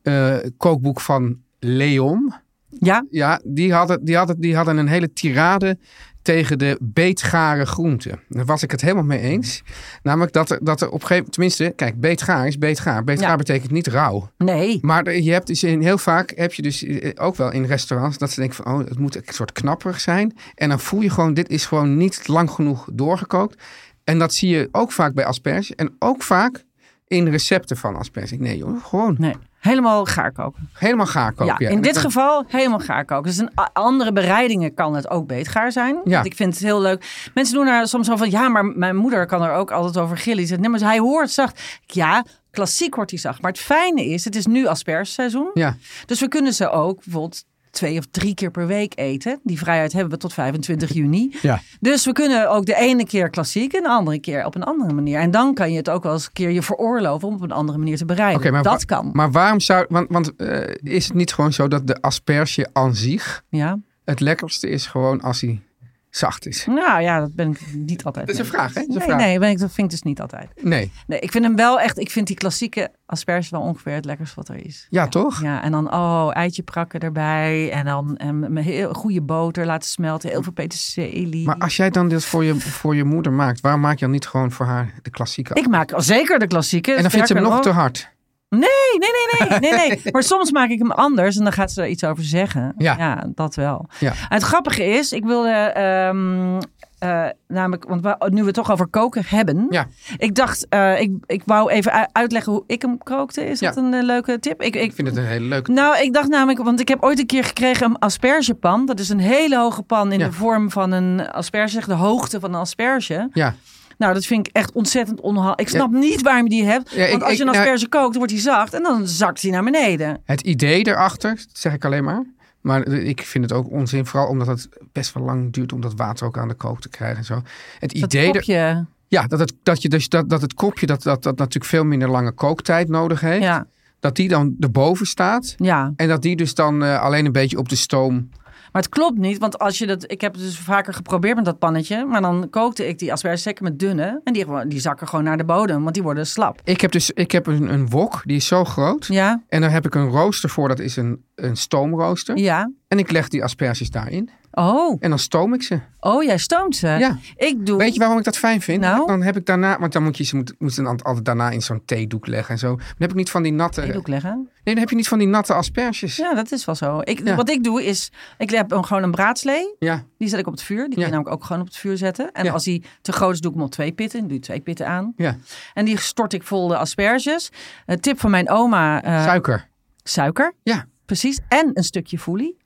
[SPEAKER 4] eh, kookboek van Leon.
[SPEAKER 1] Ja?
[SPEAKER 4] Ja, die hadden, die, hadden, die hadden een hele tirade tegen de beetgare groenten. Daar was ik het helemaal mee eens. Namelijk dat er, dat er op een gegeven moment, tenminste, kijk, beetgaar is beetgaar. Beetgaar
[SPEAKER 1] Ja.
[SPEAKER 4] betekent niet rauw.
[SPEAKER 1] Nee.
[SPEAKER 4] Maar er- je hebt dus in, heel vaak heb je dus eh, ook wel in restaurants dat ze denken van oh, het moet een soort knapperig zijn. En dan voel je gewoon, dit is gewoon niet lang genoeg doorgekookt. En dat zie je ook vaak bij asperge. En ook vaak in recepten van asperge. Nee joh, gewoon
[SPEAKER 1] Nee. Helemaal gaar koken.
[SPEAKER 4] helemaal gaar koken.
[SPEAKER 1] Ja,
[SPEAKER 4] ja.
[SPEAKER 1] in
[SPEAKER 4] En
[SPEAKER 1] dit
[SPEAKER 4] dan-
[SPEAKER 1] geval helemaal gaar koken. Dus in a- andere bereidingen kan het ook beetgaar zijn. Want ik vind het heel leuk. Mensen doen daar soms zo van, ja, maar mijn moeder kan er ook altijd over gillen. Die zegt, nee, maar hij hoort zacht. Ja, klassiek wordt hij zacht. Maar het fijne is, het is nu aspergeseizoen.
[SPEAKER 4] Ja.
[SPEAKER 1] Dus we kunnen ze ook bijvoorbeeld twee of drie keer per week eten. Die vrijheid hebben we tot 25 juni.
[SPEAKER 4] Ja.
[SPEAKER 1] Dus we kunnen ook de ene keer klassiek en de andere keer op een andere manier. En dan kan je het ook wel eens een keer je veroorloven om op een andere manier te bereiden.
[SPEAKER 4] Oké, maar
[SPEAKER 1] dat
[SPEAKER 4] wa-
[SPEAKER 1] kan.
[SPEAKER 4] Maar waarom zou. Want, want eh, is het niet gewoon zo dat de asperge aan zich
[SPEAKER 1] ja.
[SPEAKER 4] het lekkerste is gewoon als hij zacht is?
[SPEAKER 1] Nou ja, dat ben ik niet altijd.
[SPEAKER 4] Dat is
[SPEAKER 1] mee
[SPEAKER 4] een vraag, hè? Dat is
[SPEAKER 1] eens.
[SPEAKER 4] een
[SPEAKER 1] Nee,
[SPEAKER 4] vraag.
[SPEAKER 1] nee, ben ik, dat vind ik dus niet altijd.
[SPEAKER 4] Nee.
[SPEAKER 1] Nee, ik vind hem wel echt, ik vind die klassieke asperges wel ongeveer het lekkerst wat er is.
[SPEAKER 4] Ja, toch?
[SPEAKER 1] Ja, en dan, oh, eitje prakken erbij. En dan een heel goede boter laten smelten. Heel veel peterselie.
[SPEAKER 4] Maar als jij dan dit voor je, voor je moeder maakt, waarom maak je dan niet gewoon voor haar de klassieke?
[SPEAKER 1] Ik maak al zeker de klassieke.
[SPEAKER 4] en dan vindt ze hem nog
[SPEAKER 1] sterker
[SPEAKER 4] te
[SPEAKER 1] nog.
[SPEAKER 4] hard.
[SPEAKER 1] Nee, nee, nee, nee, nee, nee. Maar soms maak ik hem anders en dan gaat ze daar iets over zeggen.
[SPEAKER 4] Ja.
[SPEAKER 1] dat wel.
[SPEAKER 4] Ja.
[SPEAKER 1] En het grappige is, ik wilde ehm, eh, namelijk, want we- nu we het toch over koken hebben.
[SPEAKER 4] Ja.
[SPEAKER 1] Ik dacht, eh, ik, ik wou even u- uitleggen hoe ik hem kookte. Is
[SPEAKER 4] Ja.
[SPEAKER 1] dat een eh, leuke tip? Ik,
[SPEAKER 4] Ik vind het een hele leuke.
[SPEAKER 1] nou, ik dacht namelijk, want ik heb ooit een keer gekregen een aspergepan. Dat is een hele hoge pan in
[SPEAKER 4] Ja.
[SPEAKER 1] de vorm van een asperge, zeg, de hoogte van een asperge.
[SPEAKER 4] Ja,
[SPEAKER 1] Nou, dat vind ik echt ontzettend onhandig. Ik snap niet waarom je die hebt.
[SPEAKER 4] Ja, ik-
[SPEAKER 1] want als
[SPEAKER 4] ik-
[SPEAKER 1] je een
[SPEAKER 4] nou-
[SPEAKER 1] asperge kookt, wordt die zacht en dan zakt die naar beneden.
[SPEAKER 4] het idee erachter, dat zeg ik alleen maar. Maar ik vind het ook onzin, vooral omdat het best wel lang duurt om dat water ook aan de kook te krijgen en zo. Het
[SPEAKER 1] Dat
[SPEAKER 4] idee er-
[SPEAKER 1] kopje.
[SPEAKER 4] ja, dat, het, dat, je dus, dat, dat het kopje, dat, dat, dat natuurlijk veel minder lange kooktijd nodig heeft,
[SPEAKER 1] Ja,
[SPEAKER 4] dat die dan erboven staat.
[SPEAKER 1] ja,
[SPEAKER 4] En dat die dus dan eh, alleen een beetje op de stoom.
[SPEAKER 1] maar het klopt niet. Want als je dat, ik heb het dus vaker geprobeerd met dat pannetje. Maar dan kookte ik die asperges zeker met dunne. En die, gewoon- die zakken gewoon naar de bodem, want die worden slap.
[SPEAKER 4] Ik heb dus ik heb een, een wok, die is zo groot.
[SPEAKER 1] Ja,
[SPEAKER 4] En daar heb ik een rooster voor, dat is een, een stoomrooster.
[SPEAKER 1] ja.
[SPEAKER 4] En ik leg die asperges daarin.
[SPEAKER 1] Oh,
[SPEAKER 4] En dan stoom ik ze.
[SPEAKER 1] oh jij stoomt ze.
[SPEAKER 4] Ja.
[SPEAKER 1] Ik doe...
[SPEAKER 4] Weet je waarom ik dat fijn vind?
[SPEAKER 1] Nou?
[SPEAKER 4] Dan heb ik daarna, want dan moet je ze moet, moet ze dan altijd daarna in zo'n theedoek leggen en zo. Dan heb ik niet van die natte. eh,
[SPEAKER 1] Ik doe ook leggen.
[SPEAKER 4] Nee, dan heb je niet van die natte asperges.
[SPEAKER 1] Ja, dat is wel zo. Ik,
[SPEAKER 4] Ja.
[SPEAKER 1] Wat ik doe is, ik heb een- gewoon een braadslee.
[SPEAKER 4] Ja.
[SPEAKER 1] Die zet ik op het vuur. Die kun je
[SPEAKER 4] Ja.
[SPEAKER 1] namelijk ook gewoon op het vuur zetten. En
[SPEAKER 4] Ja.
[SPEAKER 1] als die te groot is, doe ik hem op twee pitten. Dan doe je twee pitten aan.
[SPEAKER 4] ja.
[SPEAKER 1] En die stort ik vol de asperges. Een tip van mijn oma, eh,
[SPEAKER 4] Suiker.
[SPEAKER 1] suiker.
[SPEAKER 4] Ja.
[SPEAKER 1] Precies. En een stukje foelie.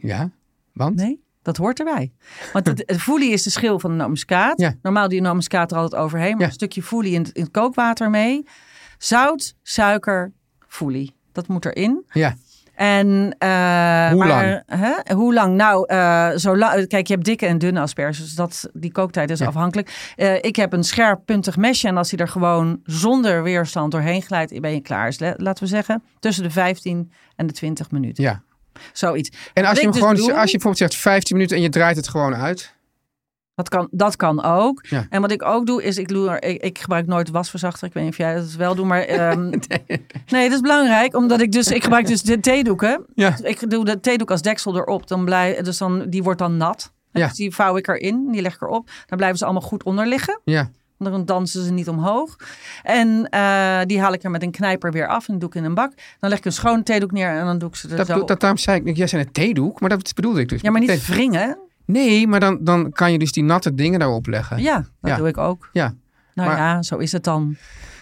[SPEAKER 4] Ja. Want?
[SPEAKER 1] Nee, dat hoort erbij. Want het, het foelie is de schil van de nomenskaat.
[SPEAKER 4] Ja.
[SPEAKER 1] Normaal doe je nomenskaat er altijd overheen. Maar
[SPEAKER 4] Ja.
[SPEAKER 1] een stukje foelie in, het- in het kookwater mee. Zout, suiker, foelie. Dat moet erin.
[SPEAKER 4] Ja.
[SPEAKER 1] En, eh,
[SPEAKER 4] Hoe
[SPEAKER 1] maar, Hè? Hoe lang? Nou, eh, zo lang, kijk, je hebt dikke en dunne asperges. Dus dat, die kooktijd is afhankelijk. Eh, ik heb een scherp puntig mesje. En als die er gewoon zonder weerstand doorheen glijdt, ben je klaar. Dus le- laten we zeggen, tussen de 15 en de 20 minuten.
[SPEAKER 4] Ja.
[SPEAKER 1] Zoiets.
[SPEAKER 4] En
[SPEAKER 1] Wat
[SPEAKER 4] als je,
[SPEAKER 1] ik
[SPEAKER 4] hem
[SPEAKER 1] dus
[SPEAKER 4] gewoon,
[SPEAKER 1] doe-
[SPEAKER 4] als je bijvoorbeeld zegt 15 minuten en je draait het gewoon uit.
[SPEAKER 1] Dat kan, dat kan ook.
[SPEAKER 4] Ja.
[SPEAKER 1] En wat ik ook doe, is ik, doe er, ik, ik gebruik nooit wasverzachter. Ik weet niet of jij dat wel doet, maar... ehm, nee. dat is belangrijk. Omdat ik dus... Ik gebruik dus de theedoeken. Dus
[SPEAKER 4] Ja.
[SPEAKER 1] Ik doe de theedoek als deksel erop. Dan blij, dus dan, die wordt dan nat.
[SPEAKER 4] Ja.
[SPEAKER 1] Dus die vouw ik erin. Die leg ik erop. Dan blijven ze allemaal goed onder liggen.
[SPEAKER 4] Ja.
[SPEAKER 1] want Dan dansen ze niet omhoog. En eh, die haal ik er met een knijper weer af. En doe ik in een bak. Dan leg ik een schone theedoek neer. En dan doe ik ze er zo
[SPEAKER 4] Dat, bedoel-
[SPEAKER 1] op.
[SPEAKER 4] dat, daarom zei ik, jij zei een theedoek, maar dat bedoelde ik dus.
[SPEAKER 1] Ja, maar niet
[SPEAKER 4] Thee-
[SPEAKER 1] wringen.
[SPEAKER 4] Nee, maar dan, dan kan je dus die natte dingen daarop leggen.
[SPEAKER 1] Ja, dat
[SPEAKER 4] Ja.
[SPEAKER 1] doe ik ook.
[SPEAKER 4] Ja.
[SPEAKER 1] Nou
[SPEAKER 4] Maar-
[SPEAKER 1] ja, zo is het dan.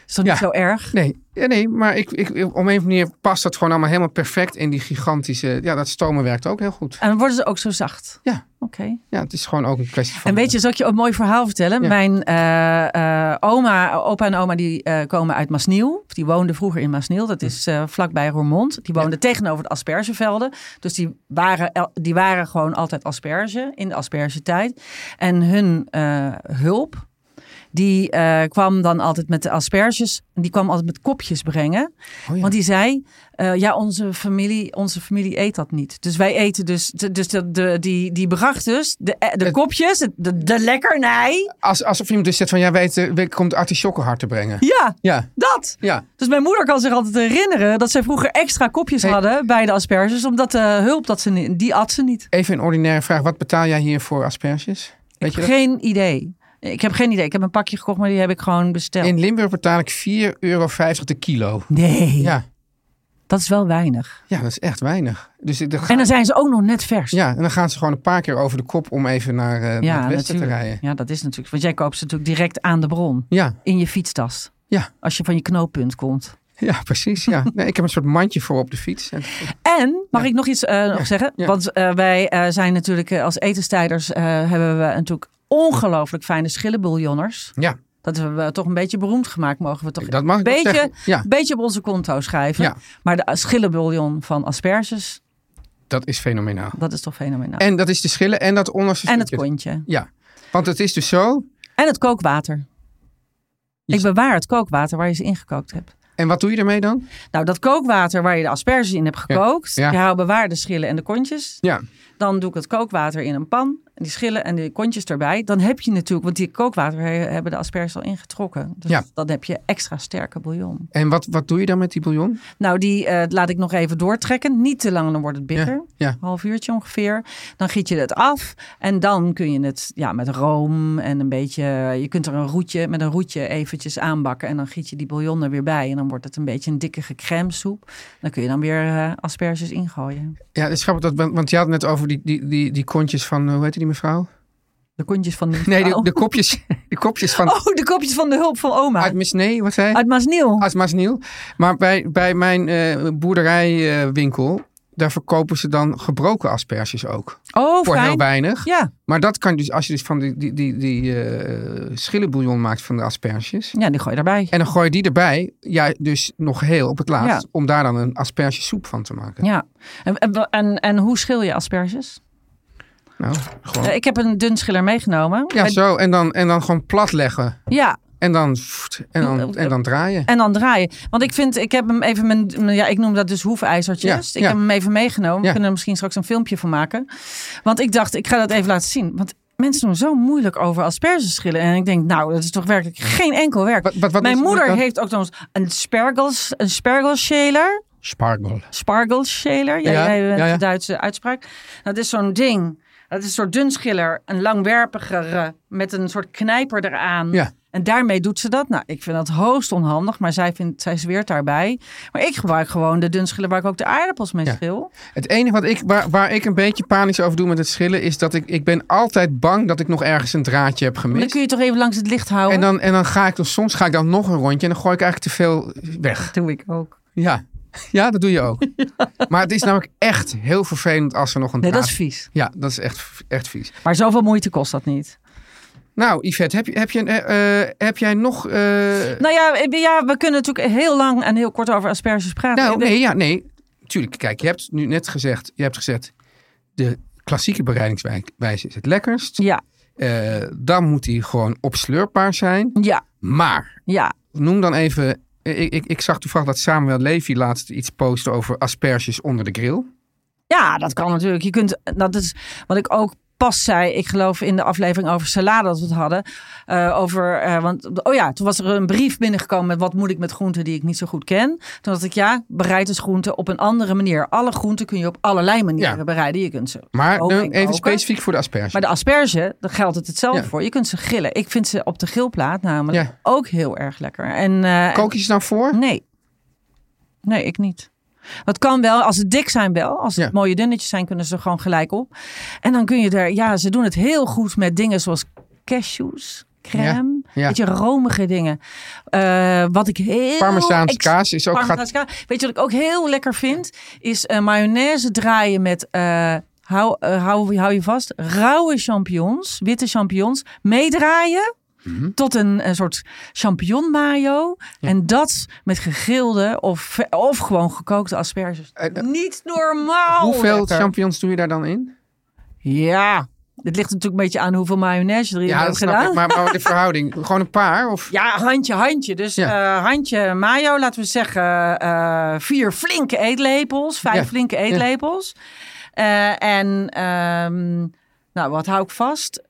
[SPEAKER 1] Is dat
[SPEAKER 4] Ja.
[SPEAKER 1] niet zo erg?
[SPEAKER 4] Nee, ja, nee maar ik, ik, op een of andere manier past dat gewoon allemaal helemaal perfect in die gigantische... Ja, dat stomen werkt ook heel goed.
[SPEAKER 1] En dan worden ze ook zo zacht.
[SPEAKER 4] Ja,
[SPEAKER 1] Oké.
[SPEAKER 4] ja het is gewoon ook een kwestie van...
[SPEAKER 1] En weet je, zal ik je ook een mooi verhaal vertellen?
[SPEAKER 4] Ja.
[SPEAKER 1] Mijn eh, eh, oma, opa en oma die eh, komen uit Masniel. Die woonden vroeger in Masniel. Dat is eh, vlakbij Roermond. Die woonden tegenover de aspergevelden. Dus die waren, el- die waren gewoon altijd asperge in de aspergetijd. En hun eh, hulp, die eh, kwam dan altijd met de asperges. Die kwam altijd met kopjes brengen.
[SPEAKER 4] Oh ja.
[SPEAKER 1] Want die zei, eh, ja, onze familie, onze familie eet dat niet. Dus wij eten dus, de- dus de, de, die, die bracht dus de, eh, de kopjes, het- de, de lekkernij.
[SPEAKER 4] Als, alsof iemand dus zegt van, ja, weet, eh, we komt artisjokkenhart te brengen.
[SPEAKER 1] Ja,
[SPEAKER 4] Ja,
[SPEAKER 1] dat.
[SPEAKER 4] ja.
[SPEAKER 1] Dus mijn moeder kan zich altijd herinneren dat zij vroeger extra kopjes
[SPEAKER 4] Hey.
[SPEAKER 1] hadden bij de asperges. Omdat de hulp, dat ze, ni- die at ze niet.
[SPEAKER 4] Even een ordinaire vraag. Wat betaal jij hier voor asperges? Weet
[SPEAKER 1] Ik
[SPEAKER 4] je
[SPEAKER 1] heb
[SPEAKER 4] dat?
[SPEAKER 1] geen idee. Ik heb geen idee. Ik heb een pakje gekocht, maar die heb ik gewoon besteld.
[SPEAKER 4] In Limburg betaal ik 4,50 euro de kilo.
[SPEAKER 1] Nee,
[SPEAKER 4] Ja.
[SPEAKER 1] dat is wel weinig.
[SPEAKER 4] ja, dat is echt weinig. Dus ik- dat ga-
[SPEAKER 1] En dan zijn ze ook nog net vers.
[SPEAKER 4] ja, en dan gaan ze gewoon een paar keer over de kop om even naar, eh, naar het westen te rijden.
[SPEAKER 1] Ja, dat is natuurlijk. Want jij koopt ze natuurlijk direct aan de bron.
[SPEAKER 4] Ja,
[SPEAKER 1] In je fietstas.
[SPEAKER 4] ja,
[SPEAKER 1] Als je van je knooppunt komt.
[SPEAKER 4] ja, precies. Ja. Nee, ik heb een soort mandje voor op de fiets. En,
[SPEAKER 1] En, mag ik nog iets eh, nog zeggen?
[SPEAKER 4] ja.
[SPEAKER 1] Want eh, wij eh, zijn natuurlijk eh, als etenstijders... eh, hebben we natuurlijk ongelooflijk fijne schillenbuljonners.
[SPEAKER 4] ja,
[SPEAKER 1] Dat hebben we toch een beetje beroemd gemaakt. Mogen we toch
[SPEAKER 4] Dat mag
[SPEAKER 1] een
[SPEAKER 4] ik wel
[SPEAKER 1] beetje,
[SPEAKER 4] zeggen, ja.
[SPEAKER 1] beetje op onze konto schrijven.
[SPEAKER 4] Ja.
[SPEAKER 1] Maar de schillenbuljon van asperges,
[SPEAKER 4] dat is fenomenaal.
[SPEAKER 1] dat is toch fenomenaal. En,
[SPEAKER 4] En dat is de schillen en dat onderste
[SPEAKER 1] het
[SPEAKER 4] stukje.
[SPEAKER 1] kontje.
[SPEAKER 4] Ja, want het is dus zo.
[SPEAKER 1] En het kookwater.
[SPEAKER 4] Je-
[SPEAKER 1] Ik bewaar het kookwater waar je ze ingekookt hebt.
[SPEAKER 4] En wat doe je ermee dan?
[SPEAKER 1] Nou, dat kookwater waar je de asperges in hebt gekookt.
[SPEAKER 4] Ja.
[SPEAKER 1] Je houdt bewaar de schillen en de kontjes.
[SPEAKER 4] Ja,
[SPEAKER 1] Dan doe ik het kookwater in een pan. en die schillen en die kontjes erbij. Dan heb je natuurlijk, want die kookwater he- hebben de asperges al ingetrokken. Dus
[SPEAKER 4] Ja.
[SPEAKER 1] dan heb je extra sterke bouillon.
[SPEAKER 4] En wat, wat doe je dan met die bouillon?
[SPEAKER 1] Nou, die eh, laat ik nog even doortrekken. Niet te lang, dan wordt het bitter.
[SPEAKER 4] ja.
[SPEAKER 1] Half uurtje ongeveer. Dan giet je het af. En dan kun je het ja, met room en een beetje... eh, Je kunt er een roetje, met een roetje eventjes aanbakken. En dan giet je die bouillon er weer bij. En dan wordt het een beetje een dikke crème soep. Dan kun je dan weer eh, asperges ingooien.
[SPEAKER 4] Ja, het is grappig, dat, want- want je had het net over die, die, die, die kontjes van, eh, hoe heette die mevrouw?
[SPEAKER 1] De kontjes van de
[SPEAKER 4] Nee, de,
[SPEAKER 1] Oh.
[SPEAKER 4] de kopjes, de kopjes van,
[SPEAKER 1] Oh, de kopjes van de hulp van oma.
[SPEAKER 4] uit
[SPEAKER 1] Uit,
[SPEAKER 4] Misnee, wat zei hij?
[SPEAKER 1] Maasniel.
[SPEAKER 4] Uit Maasniel. Maar bij, bij mijn eh, boerderijwinkel, daar verkopen ze dan gebroken asperges ook.
[SPEAKER 1] Oh,
[SPEAKER 4] Voor heel
[SPEAKER 1] fijn.
[SPEAKER 4] weinig.
[SPEAKER 1] Ja.
[SPEAKER 4] Maar dat kan dus, als je dus van die, die, die, die eh, schillenbouillon maakt van de asperges.
[SPEAKER 1] ja, die gooi je erbij.
[SPEAKER 4] En dan gooi je die erbij, ja, dus nog heel op het laatst,
[SPEAKER 1] Ja.
[SPEAKER 4] om daar dan een aspergesoep van te maken.
[SPEAKER 1] Ja. En, en, en, en hoe schil je asperges?
[SPEAKER 4] Nou, gewoon.
[SPEAKER 1] Eh, ik heb een dun schiller meegenomen.
[SPEAKER 4] Ja,
[SPEAKER 1] En-
[SPEAKER 4] zo. En dan, en dan gewoon plat leggen.
[SPEAKER 1] ja,
[SPEAKER 4] En dan, pfft, en dan, en dan draaien.
[SPEAKER 1] En dan draaien. Want ik vind, ik heb hem even, mijn, mijn- ja, ik noem dat dus hoefijzertjes.
[SPEAKER 4] Ja,
[SPEAKER 1] ik
[SPEAKER 4] ja.
[SPEAKER 1] heb hem even meegenomen. We
[SPEAKER 4] Ja.
[SPEAKER 1] kunnen er misschien straks een filmpje van maken. Want ik dacht, ik ga dat even laten zien. Want mensen doen zo moeilijk over aspergeschillen. En ik denk, nou, dat is toch werkelijk geen enkel werk.
[SPEAKER 4] Wat- wat- wat
[SPEAKER 1] mijn
[SPEAKER 4] is- moet
[SPEAKER 1] moeder
[SPEAKER 4] dat-
[SPEAKER 1] heeft ook nog eens een spargels, een spargelshaler.
[SPEAKER 4] Spargel.
[SPEAKER 1] Spargelshaler. Ja,
[SPEAKER 4] Ja,
[SPEAKER 1] jij bent
[SPEAKER 4] ja, ja.
[SPEAKER 1] de Duitse uitspraak. Dat is zo'n ding. Dat is een soort dunschiller, een langwerpigere, met een soort knijper eraan.
[SPEAKER 4] Ja.
[SPEAKER 1] En daarmee doet ze dat. Nou, ik vind dat hoogst onhandig, maar zij, vindt, zij zweert daarbij. Maar ik gebruik gewoon de dunschiller waar ik ook de aardappels mee
[SPEAKER 4] Ja.
[SPEAKER 1] schil.
[SPEAKER 4] Het enige wat ik, waar, waar ik een beetje panisch over doe met het schillen, is dat ik, ik ben altijd bang dat ik nog ergens een draadje heb
[SPEAKER 1] Maar Dan
[SPEAKER 4] gemist.
[SPEAKER 1] kun je toch even langs het licht houden?
[SPEAKER 4] En dan, en dan ga ik dan, soms ga ik dan nog een rondje en dan gooi ik eigenlijk te veel weg.
[SPEAKER 1] Dat doe ik ook.
[SPEAKER 4] Ja, ja dat doe je ook. Maar het is namelijk echt heel vervelend als er nog een
[SPEAKER 1] Nee, dat
[SPEAKER 4] draad...
[SPEAKER 1] is vies.
[SPEAKER 4] Ja, dat is echt, echt vies.
[SPEAKER 1] Maar zoveel moeite kost dat niet.
[SPEAKER 4] Nou, Yvette, heb, je, heb, je, een, eh, eh, heb jij nog... eh,
[SPEAKER 1] Nou ja, eh, ja, we kunnen natuurlijk heel lang en heel kort over asperges praten.
[SPEAKER 4] nou,
[SPEAKER 1] Ik denk-
[SPEAKER 4] nee, ja, nee. Tuurlijk, kijk, je hebt nu net gezegd, je hebt gezegd, de klassieke bereidingswijze is het lekkerst.
[SPEAKER 1] Ja,
[SPEAKER 4] Eh, dan moet die gewoon opsleurbaar zijn.
[SPEAKER 1] ja,
[SPEAKER 4] Maar,
[SPEAKER 1] ja.
[SPEAKER 4] noem dan even... eh, Ik, ik, ik zag toevallig dat Samuel Levy laatst iets postte over asperges onder de grill.
[SPEAKER 1] Ja, dat kan natuurlijk. Je kunt, dat is wat ik ook pas zei. Ik geloof in de aflevering over salade dat we het hadden. eh, over, eh, want, oh ja, toen was er een brief binnengekomen met wat moet ik met groenten die ik niet zo goed ken. Toen dacht ik, ja, bereid dus groenten op een andere manier. Alle groenten kun je op allerlei manieren
[SPEAKER 4] Ja.
[SPEAKER 1] bereiden. Je kunt ze
[SPEAKER 4] Maar
[SPEAKER 1] koken
[SPEAKER 4] eh,
[SPEAKER 1] Oh, en
[SPEAKER 4] even
[SPEAKER 1] koken.
[SPEAKER 4] specifiek voor de asperges.
[SPEAKER 1] Maar de asperge, daar geldt het hetzelfde
[SPEAKER 4] Ja.
[SPEAKER 1] voor. Je kunt ze grillen. Ik vind ze op de grillplaat namelijk
[SPEAKER 4] Ja.
[SPEAKER 1] ook heel erg lekker. En, eh,
[SPEAKER 4] Kook je ze nou voor?
[SPEAKER 1] Nee. Nee, ik niet. Dat kan wel, als ze dik zijn wel. Als het
[SPEAKER 4] Ja.
[SPEAKER 1] mooie dunnetjes zijn, kunnen ze er gewoon gelijk op. En dan kun je er... Ja, ze doen het heel goed met dingen zoals cashews, crème.
[SPEAKER 4] Ja, ja.
[SPEAKER 1] Beetje romige dingen. Eh, wat ik heel...
[SPEAKER 4] Parmezaanse
[SPEAKER 1] ex-
[SPEAKER 4] kaas is ook-
[SPEAKER 1] Parmezaanse kaas. Weet je wat ik ook heel lekker vind? Is eh, mayonaise draaien met... eh, hou, eh, hou, hou je vast. Rauwe champignons, witte champignons. Meedraaien
[SPEAKER 4] Mhm.
[SPEAKER 1] tot een, een soort champignon mayo. En dat met gegrilde of, of gewoon gekookte asperges.
[SPEAKER 4] Eh, eh,
[SPEAKER 1] Niet normaal.
[SPEAKER 4] Hoeveel
[SPEAKER 1] lekker.
[SPEAKER 4] champignons doe je daar dan in?
[SPEAKER 1] Ja, dit ligt natuurlijk een beetje aan hoeveel mayonaise erin
[SPEAKER 4] Ja,
[SPEAKER 1] hebt
[SPEAKER 4] dat snap
[SPEAKER 1] gedaan.
[SPEAKER 4] ik. Maar, maar de verhouding, gewoon een paar? Of...
[SPEAKER 1] Ja, handje, handje. Dus
[SPEAKER 4] Ja.
[SPEAKER 1] eh, handje mayo, laten we zeggen eh, vier flinke eetlepels. Vijf
[SPEAKER 4] Ja.
[SPEAKER 1] flinke
[SPEAKER 4] Ja.
[SPEAKER 1] eetlepels. Eh, en, ehm, nou, wat hou ik vast?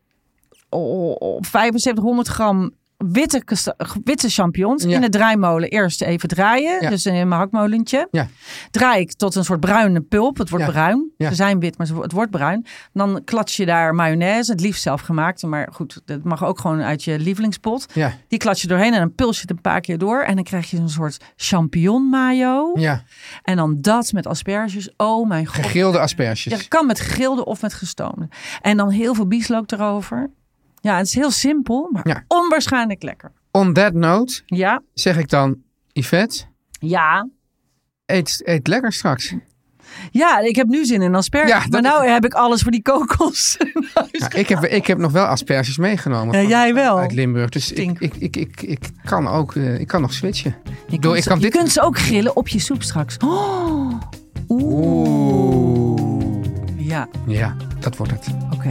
[SPEAKER 1] Oh, oh, oh, 7500 gram witte, kasta- witte champignons
[SPEAKER 4] Ja.
[SPEAKER 1] in de draaimolen. Eerst even draaien,
[SPEAKER 4] Ja.
[SPEAKER 1] dus in mijn hakmolentje.
[SPEAKER 4] Ja.
[SPEAKER 1] Draai ik tot een soort bruine pulp. Het wordt
[SPEAKER 4] Ja.
[SPEAKER 1] bruin.
[SPEAKER 4] Ja.
[SPEAKER 1] Ze zijn wit, maar ze wo- het wordt bruin. Dan klats je daar mayonaise, het liefst zelfgemaakt. Maar goed, dat mag ook gewoon uit je lievelingspot.
[SPEAKER 4] Ja.
[SPEAKER 1] Die klats je doorheen en dan puls je het een paar keer door. En dan krijg je een soort champignon mayo.
[SPEAKER 4] Ja,
[SPEAKER 1] En dan dat met asperges. Oh mijn god.
[SPEAKER 4] gegrilde
[SPEAKER 1] Ja, het
[SPEAKER 4] asperges.
[SPEAKER 1] kan met gegrilde of met gestoomde. En dan heel veel bieslook erover. Ja, het is heel simpel, maar
[SPEAKER 4] Ja.
[SPEAKER 1] onwaarschijnlijk lekker.
[SPEAKER 4] On that note
[SPEAKER 1] Ja,
[SPEAKER 4] zeg ik dan, Yvette,
[SPEAKER 1] ja.
[SPEAKER 4] eet, eet lekker straks.
[SPEAKER 1] Ja, ik heb nu zin in asperges.
[SPEAKER 4] Ja, dat
[SPEAKER 1] maar nou heb ik alles voor die kokos.
[SPEAKER 4] Ja, ik, heb, ik heb nog wel asperges meegenomen.
[SPEAKER 1] Ja,
[SPEAKER 4] van-
[SPEAKER 1] jij wel.
[SPEAKER 4] Uit Limburg. Dus ik,
[SPEAKER 1] Stink.
[SPEAKER 4] ik, ik, ik, ik kan ook eh, ik kan nog switchen. Ik
[SPEAKER 1] Je,
[SPEAKER 4] bedoel,
[SPEAKER 1] kunt,
[SPEAKER 4] ik
[SPEAKER 1] ze,
[SPEAKER 4] kan
[SPEAKER 1] je
[SPEAKER 4] dit...
[SPEAKER 1] kunt ze ook grillen op je soep straks. Oh,
[SPEAKER 4] Oeh.
[SPEAKER 1] ja,
[SPEAKER 4] Ja, dat wordt het.
[SPEAKER 1] oké.